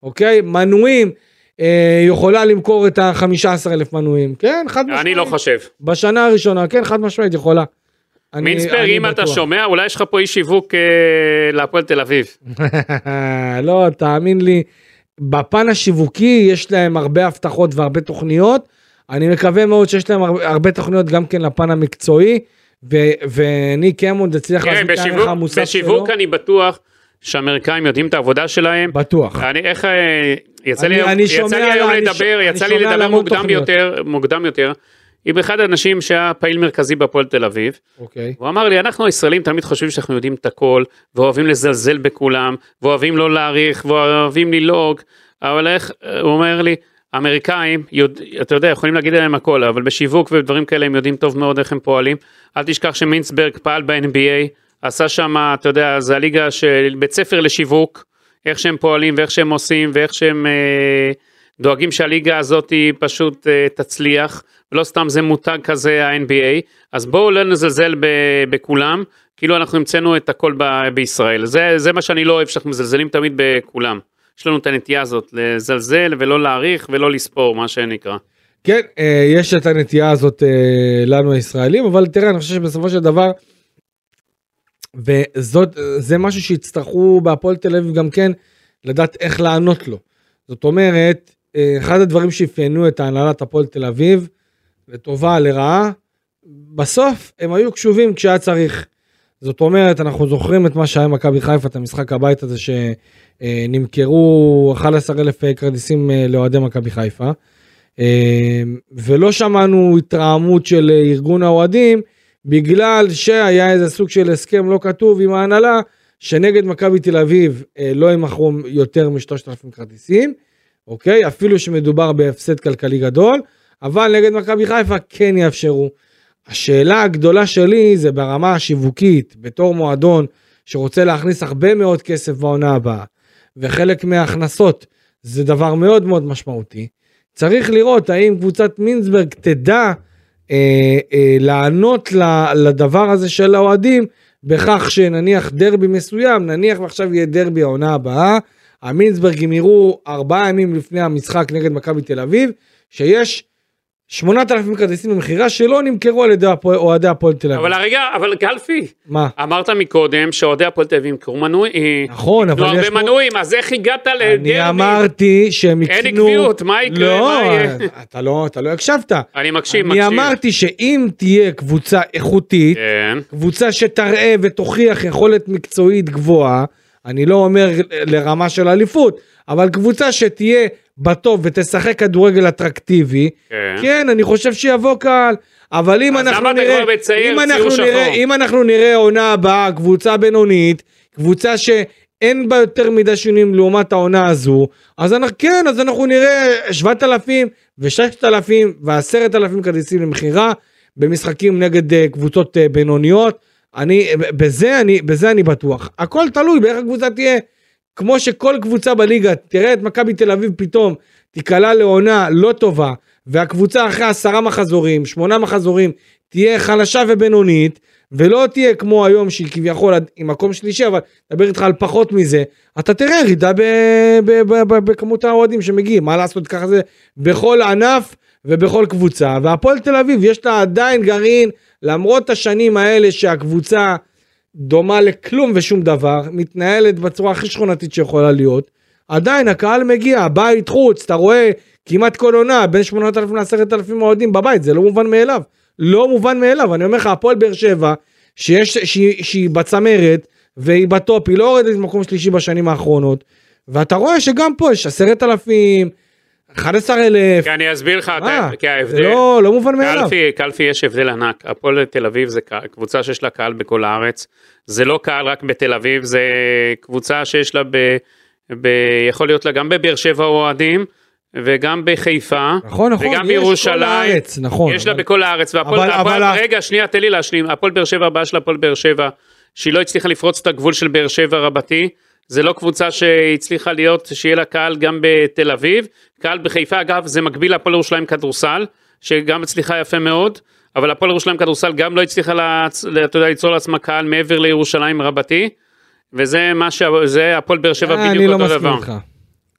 Speaker 2: אוקיי? מנויים, אה, יכולה למכור את ה-15 אלף מנויים, כן? חד משמעית.
Speaker 3: אני לא חושב.
Speaker 2: בשנה הראשונה, כן, חד משמעית, יכולה. אני-
Speaker 3: מינספר,
Speaker 2: אני
Speaker 3: אם אתה
Speaker 2: בטוח.
Speaker 3: שומע, אולי יש לך פה אי שיווק אה, להפועל תל אביב.
Speaker 2: לא, תאמין לי, בפן השיווקי יש להם הרבה הבטחות והרבה תוכניות. אני מקווה מאוד שיש להם הרבה, הרבה תוכניות גם כן לפן המקצועי, ו- וניק אמונד הצליח
Speaker 3: תראה,
Speaker 2: להזמין את הערך
Speaker 3: בשיווק-
Speaker 2: המוסף שלו.
Speaker 3: בשיווק אני בטוח שהאמריקאים יודעים את העבודה שלהם.
Speaker 2: בטוח.
Speaker 3: אני איך אה, יצא לי
Speaker 2: אני-
Speaker 3: היום-
Speaker 2: אני
Speaker 3: יצא
Speaker 2: שומע
Speaker 3: לי היום
Speaker 2: על- אני
Speaker 3: לדבר
Speaker 2: ש-
Speaker 3: יצא
Speaker 2: אני
Speaker 3: לי
Speaker 2: שומע על
Speaker 3: לדבר
Speaker 2: המון
Speaker 3: מוקדם
Speaker 2: תוכניות.
Speaker 3: יותר מוקדם יותר עם אחד האנשים שהיה פעיל מרכזי בהפועל תל אביב.
Speaker 2: אוקיי.
Speaker 3: הוא אמר לי אנחנו הישראלים תמיד חושבים שאנחנו יודעים את הכל ואוהבים לזלזל בכולם ואוהבים לא להעריך ואוהבים ללעוג אבל איך הוא אומר לי אמריקאים יודע, אתה יודע יכולים להגיד עליהם הכל אבל בשיווק ודברים כאלה הם יודעים טוב מאוד איך הם פועלים אל תשכח שמינסברג פעל ב-NBA עשה שם אתה יודע זה הליגה של בית ספר לשיווק איך שהם פועלים ואיך שהם עושים ואיך שהם אה, דואגים שהליגה הזאת היא פשוט אה, תצליח, ולא סתם זה מותג כזה ה-NBA, אז בואו לא נזלזל ב- בכולם, כאילו אנחנו המצאנו את הכל ב- בישראל. זה, זה מה שאני לא אוהב, שאנחנו מזלזלים תמיד בכולם. יש לנו את הנטייה הזאת, לזלזל ולא להעריך ולא לספור, מה שנקרא.
Speaker 2: כן, אה, יש את הנטייה הזאת אה, לנו הישראלים, אבל תראה, אני חושב שבסופו של דבר, וזאת, אה, זה משהו שיצטרכו בהפועל תל אביב גם כן לדעת איך לענות לו. זאת אומרת, אה, אחד הדברים שאפיינו את הנהלת הפועל תל אביב, לטובה, לרעה, בסוף הם היו קשובים כשהיה צריך. זאת אומרת, אנחנו זוכרים את מה שהיה עם מכבי חיפה, את המשחק הבית הזה שנמכרו אה, 11,000 כרטיסים אה, לאוהדי מכבי חיפה. אה, ולא שמענו התרעמות של אה, ארגון האוהדים, בגלל שהיה איזה סוג של הסכם לא כתוב עם ההנהלה, שנגד מכבי תל אביב אה, לא ימכרו יותר מ-3,000 כרטיסים, אוקיי? אפילו שמדובר בהפסד כלכלי גדול, אבל נגד מכבי חיפה כן יאפשרו. השאלה הגדולה שלי זה ברמה השיווקית, בתור מועדון שרוצה להכניס הרבה מאוד כסף בעונה הבאה, וחלק מההכנסות זה דבר מאוד מאוד משמעותי. צריך לראות האם קבוצת מינסברג תדע אה, אה, לענות ל- לדבר הזה של האוהדים בכך שנניח דרבי מסוים, נניח ועכשיו יהיה דרבי העונה הבאה, המינסברגים יראו ארבעה ימים לפני המשחק נגד מכבי תל אביב, שיש 8,000 כרטיסים במכירה שלא נמכרו על ידי הפוע- אוהדי הפועל תל אביב.
Speaker 3: אבל רגע, אבל גלפי,
Speaker 2: מה?
Speaker 3: אמרת מקודם שאוהדי הפועל תל אביב יקראו מנוי,
Speaker 2: נכון,
Speaker 3: לא
Speaker 2: אבל יש
Speaker 3: הרבה
Speaker 2: פה...
Speaker 3: מנויים, אז איך הגעת לדרבי?
Speaker 2: אני אמרתי שהם יקנו...
Speaker 3: אין עקביות, מה יקרה?
Speaker 2: לא,
Speaker 3: מה יהיה?
Speaker 2: אתה לא, אתה לא הקשבת.
Speaker 3: אני מקשיב,
Speaker 2: אני
Speaker 3: מקשיב.
Speaker 2: אמרתי שאם תהיה קבוצה איכותית,
Speaker 3: כן.
Speaker 2: קבוצה שתראה ותוכיח יכולת מקצועית גבוהה, אני לא אומר לרמה של אליפות, אבל קבוצה שתהיה בטוב ותשחק כדורגל אטרקטיבי,
Speaker 3: כן. אה,
Speaker 2: כן, אני חושב שיבוא קהל, אבל אם
Speaker 3: אז
Speaker 2: אנחנו
Speaker 3: למה אתה
Speaker 2: נראה,
Speaker 3: כבר בצעיר,
Speaker 2: אם
Speaker 3: צעיר
Speaker 2: אנחנו
Speaker 3: שחור?
Speaker 2: נראה, אם אנחנו נראה עונה הבאה, קבוצה בינונית, קבוצה שאין בה יותר מדי שינויים לעומת העונה הזו, אז אנחנו, כן, אז אנחנו נראה 7,000 ו-6,000 ו-10,000 כרטיסים למכירה במשחקים נגד אה, קבוצות אה, בינוניות. אני, בזה אני, בזה אני בטוח. הכל תלוי באיך הקבוצה תהיה. כמו שכל קבוצה בליגה, תראה את מכבי תל אביב פתאום תיקלע לעונה לא טובה, והקבוצה אחרי עשרה מחזורים, שמונה מחזורים, תהיה חלשה ובינונית, ולא תהיה כמו היום שהיא כביכול עד- עם מקום שלישי, אבל נדבר איתך על פחות מזה, אתה תראה ירידה ב- ב- ב- ב- בכמות האוהדים שמגיעים, מה לעשות ככה זה בכל ענף ובכל קבוצה, והפועל תל אביב יש לה עדיין גרעין, למרות השנים האלה שהקבוצה דומה לכלום ושום דבר, מתנהלת בצורה הכי שכונתית שיכולה להיות, עדיין הקהל מגיע, בית חוץ, אתה רואה כמעט כל עונה בין 8,000 ל-10,000 אוהדים בבית, זה לא מובן מאליו. לא מובן מאליו, אני אומר לך, הפועל באר שבע, שיש, שהיא, שהיא בצמרת והיא בטופ, היא לא יורדת ממקום שלישי בשנים האחרונות, ואתה רואה שגם פה יש 10,000, 11,000,
Speaker 3: כי כן, אני אסביר לך, אתה-
Speaker 2: מה?
Speaker 3: כי
Speaker 2: זה
Speaker 3: ההבדל,
Speaker 2: לא, לא
Speaker 3: כן,
Speaker 2: מובן מאליו.
Speaker 3: קלפי, קלפי יש הבדל ענק, הפועל תל אביב זה קה- קבוצה שיש לה קהל בכל הארץ, זה לא קהל רק בתל אביב, זה קבוצה שיש לה, ב, ב, יכול להיות לה גם בבאר שבע אוהדים, וגם בחיפה,
Speaker 2: נכון, נכון,
Speaker 3: וגם
Speaker 2: יש
Speaker 3: בירושלים,
Speaker 2: כל הארץ, נכון.
Speaker 3: יש לה
Speaker 2: אבל-
Speaker 3: בכל הארץ, והפועל,
Speaker 2: אבל-
Speaker 3: והפועל-
Speaker 2: אבל-
Speaker 3: רגע, שנייה, תן לי להשלים, הפועל באר שבע, הבעיה של הפועל באר שבע, שהיא לא הצליחה לפרוץ את הגבול של באר שבע רבתי, זה לא קבוצה שהצליחה להיות, שיהיה לה קהל גם בתל אביב. קהל בחיפה, אגב, זה מקביל להפועל ירושלים כדורסל, שגם הצליחה יפה מאוד, אבל הפועל ירושלים כדורסל גם לא הצליחה, לה, אתה יודע, ליצור לעצמה קהל מעבר לירושלים רבתי, וזה מה ש... זה הפועל באר שבע
Speaker 2: אה,
Speaker 3: בדיוק
Speaker 2: אני
Speaker 3: אותו
Speaker 2: לא מסכים
Speaker 3: דבר.
Speaker 2: איתך.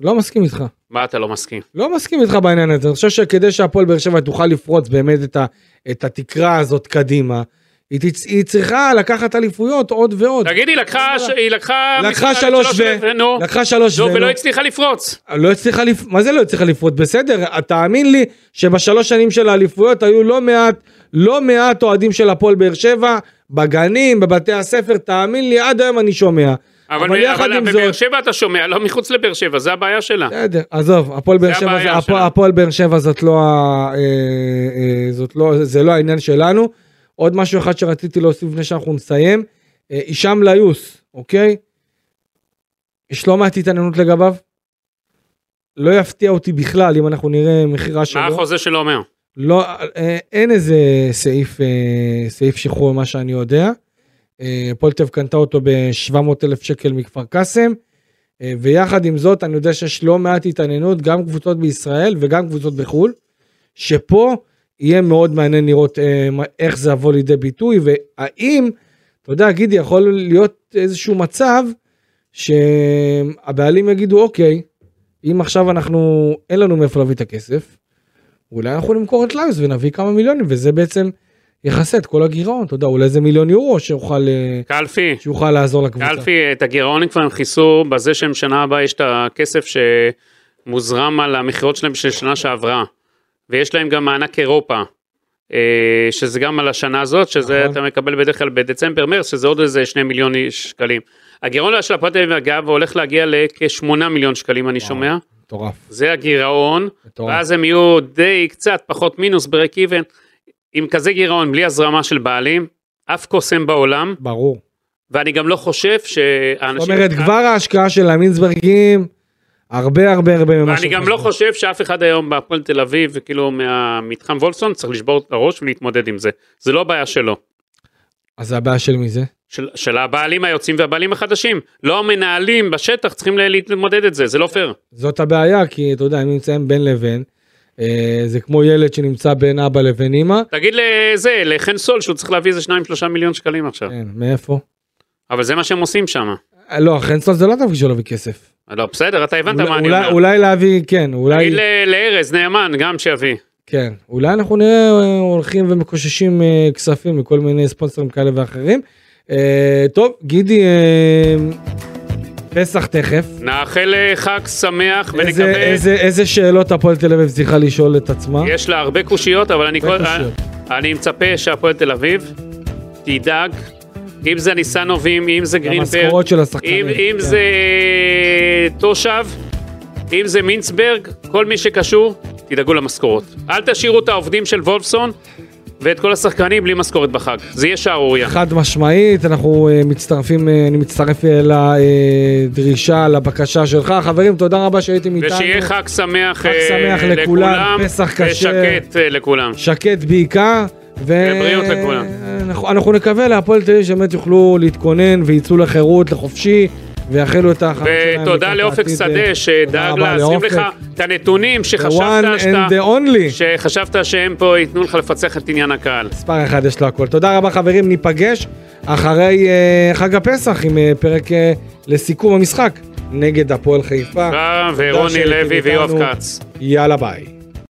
Speaker 2: לא מסכים איתך.
Speaker 3: מה אתה לא מסכים?
Speaker 2: לא מסכים איתך בעניין הזה. אני חושב שכדי שהפועל באר שבע תוכל לפרוץ באמת את, ה, את התקרה הזאת קדימה, היא, תצ... היא צריכה לקחת אליפויות עוד ועוד.
Speaker 3: תגיד, היא לקחה... ש- היא לקחה...
Speaker 2: לקחה
Speaker 3: משחק
Speaker 2: שלוש ו...
Speaker 3: ו... אה, נו,
Speaker 2: לקחה שלוש
Speaker 3: נו,
Speaker 2: ו...
Speaker 3: ולא הצליחה לפרוץ.
Speaker 2: לא הצליחה לפ... מה זה לא הצליחה לפרוט? בסדר, תאמין לי שבשלוש שנים של האליפויות היו לא מעט, לא מעט אוהדים של הפועל באר שבע, בגנים, בבתי הספר, תאמין לי, עד היום אני שומע.
Speaker 3: אבל,
Speaker 2: אבל יחד עם
Speaker 3: בבאר
Speaker 2: זאת-
Speaker 3: שבע אתה שומע, לא מחוץ לבאר שבע, זה הבעיה שלה.
Speaker 2: בסדר, עזוב, הפועל באר
Speaker 3: זה
Speaker 2: שבע,
Speaker 3: הבעיה
Speaker 2: זה- הפוע-
Speaker 3: שלנו.
Speaker 2: הפועל באר שבע זאת לא, ה- אה, אה, זאת לא, זה לא העניין שלנו. עוד משהו אחד שרציתי להוסיף לפני שאנחנו נסיים, אה, הישאם ליוס, אוקיי? יש לא מעט התעניינות לגביו. לא יפתיע אותי בכלל אם אנחנו נראה מכירה שלו.
Speaker 3: מה החוזה שלו אומר?
Speaker 2: לא, אה, אין איזה סעיף, אה, סעיף שחרור ממה שאני יודע. אה, פולטב קנתה אותו ב-700 אלף שקל מכפר קאסם, אה, ויחד עם זאת אני יודע שיש לא מעט התעניינות, גם קבוצות בישראל וגם קבוצות בחו"ל, שפה יהיה מאוד מעניין לראות אה, מה- איך זה יבוא לידי ביטוי, והאם, אתה יודע, גידי, יכול להיות איזשהו מצב שהבעלים יגידו, אוקיי, אם עכשיו אנחנו, אין לנו מאיפה להביא את הכסף, אולי אנחנו נמכור את ליוס ונביא כמה מיליונים, וזה בעצם יכסה את כל הגירעון, אתה יודע, אולי זה מיליון יורו שיוכל, אה,
Speaker 3: קלפי.
Speaker 2: שיוכל לעזור לקבוצה.
Speaker 3: קלפי, את הגירעון הם כבר הם כיסו בזה שהם שנה הבאה יש את הכסף שמוזרם על המכירות שלהם של שנה שעברה. ויש להם גם מענק אירופה, אה, שזה גם על השנה הזאת, שזה
Speaker 2: נכון.
Speaker 3: אתה מקבל בדרך כלל בדצמבר-מרץ, שזה עוד איזה שני מיליון איש שקלים. הגירעון של הפועל תל אביב, אגב, הולך להגיע לכ-8 מיליון שקלים, אני
Speaker 2: וואו.
Speaker 3: שומע.
Speaker 2: מטורף,
Speaker 3: זה הגירעון,
Speaker 2: מטורף.
Speaker 3: ואז הם יהיו די קצת פחות מינוס ברק איבן. עם כזה גירעון, בלי הזרמה של בעלים, אף קוסם בעולם,
Speaker 2: ברור.
Speaker 3: ואני גם לא חושב שהאנשים...
Speaker 2: זאת אומרת, כבר ההשקעה של המינסברגים, הרבה הרבה הרבה ממה
Speaker 3: ואני גם לא חושב שאף אחד היום בהפועל תל אביב, כאילו מהמתחם וולפסון, צריך לשבור את הראש ולהתמודד עם זה. זה לא הבעיה שלו.
Speaker 2: אז זה הבעיה של מי זה?
Speaker 3: של, של הבעלים היוצאים והבעלים החדשים. לא המנהלים בשטח צריכים ל- להתמודד את זה, זה לא פייר.
Speaker 2: זאת הבעיה, כי אתה יודע, הם נמצאים בין לבין. אה, זה כמו ילד שנמצא בין אבא לבין אמא.
Speaker 3: תגיד לזה, לחן סול שהוא צריך להביא איזה שניים שלושה מיליון שקלים עכשיו.
Speaker 2: כן, מאיפה?
Speaker 3: אבל זה מה שהם עושים שם.
Speaker 2: אה, לא, חנסון זה לא תפקיד שלו וכסף.
Speaker 3: לא, בסדר, אתה הבנת מה אני
Speaker 2: אולי,
Speaker 3: אומר.
Speaker 2: אולי להביא, כן, אולי,
Speaker 3: תגיד ל- לארז נאמן גם שיביא.
Speaker 2: כן, אולי אנחנו נראה אה, הולכים ומקוששים אה, כספים מכל מיני ספונסרים כאלה ואחרים. אה, טוב, גידי, אה, פסח תכף.
Speaker 3: נאחל אה, חג שמח
Speaker 2: איזה,
Speaker 3: ונקווה.
Speaker 2: איזה, איזה שאלות הפועל תל אביב צריכה לשאול את עצמה?
Speaker 3: יש לה הרבה קושיות, אבל אני,
Speaker 2: הרבה
Speaker 3: כל...
Speaker 2: קושיות.
Speaker 3: אני מצפה שהפועל תל אביב תדאג, אם זה ניסנובים, אם זה גרינברג,
Speaker 2: המשכורות של השחקנים.
Speaker 3: אם, אם
Speaker 2: כן.
Speaker 3: זה אה, תושב, אם זה מינצברג, כל מי שקשור, תדאגו למשכורות. אל תשאירו את העובדים של וולפסון ואת כל השחקנים בלי משכורת בחג. זה יהיה שערורייה.
Speaker 2: חד משמעית, אנחנו אה, מצטרפים, אה, אני מצטרף אה, לדרישה, לבקשה שלך. חברים, תודה רבה שהייתם איתנו.
Speaker 3: ושיהיה חג שמח,
Speaker 2: חג
Speaker 3: אה,
Speaker 2: שמח לכולם, פסח כשר.
Speaker 3: ושקט אה, לכולם.
Speaker 2: שקט בעיקר. ו...
Speaker 3: ובריאות לכולם.
Speaker 2: אנחנו, אנחנו נקווה להפועל תל אביב שבאמת יוכלו להתכונן ויצאו לחירות, לחופשי, ויאחלו את החיים שלהם.
Speaker 3: ותודה
Speaker 2: לקראת
Speaker 3: לאופק
Speaker 2: העתיד.
Speaker 3: שדה
Speaker 2: תודה
Speaker 3: שדאג
Speaker 2: רבה
Speaker 3: להזרים
Speaker 2: לאופק.
Speaker 3: לך את הנתונים
Speaker 2: The one
Speaker 3: שחשבת
Speaker 2: and
Speaker 3: שאתה...
Speaker 2: the only.
Speaker 3: שחשבת שהם פה ייתנו לך לפצח את עניין הקהל.
Speaker 2: מספר אחד יש לו הכל. תודה רבה חברים, ניפגש אחרי אה, חג הפסח עם אה, פרק אה, לסיכום המשחק נגד הפועל חיפה.
Speaker 3: אה, ורוני
Speaker 2: שהייתם
Speaker 3: לוי ויואב
Speaker 2: איתנו.
Speaker 3: כץ.
Speaker 2: יאללה ביי.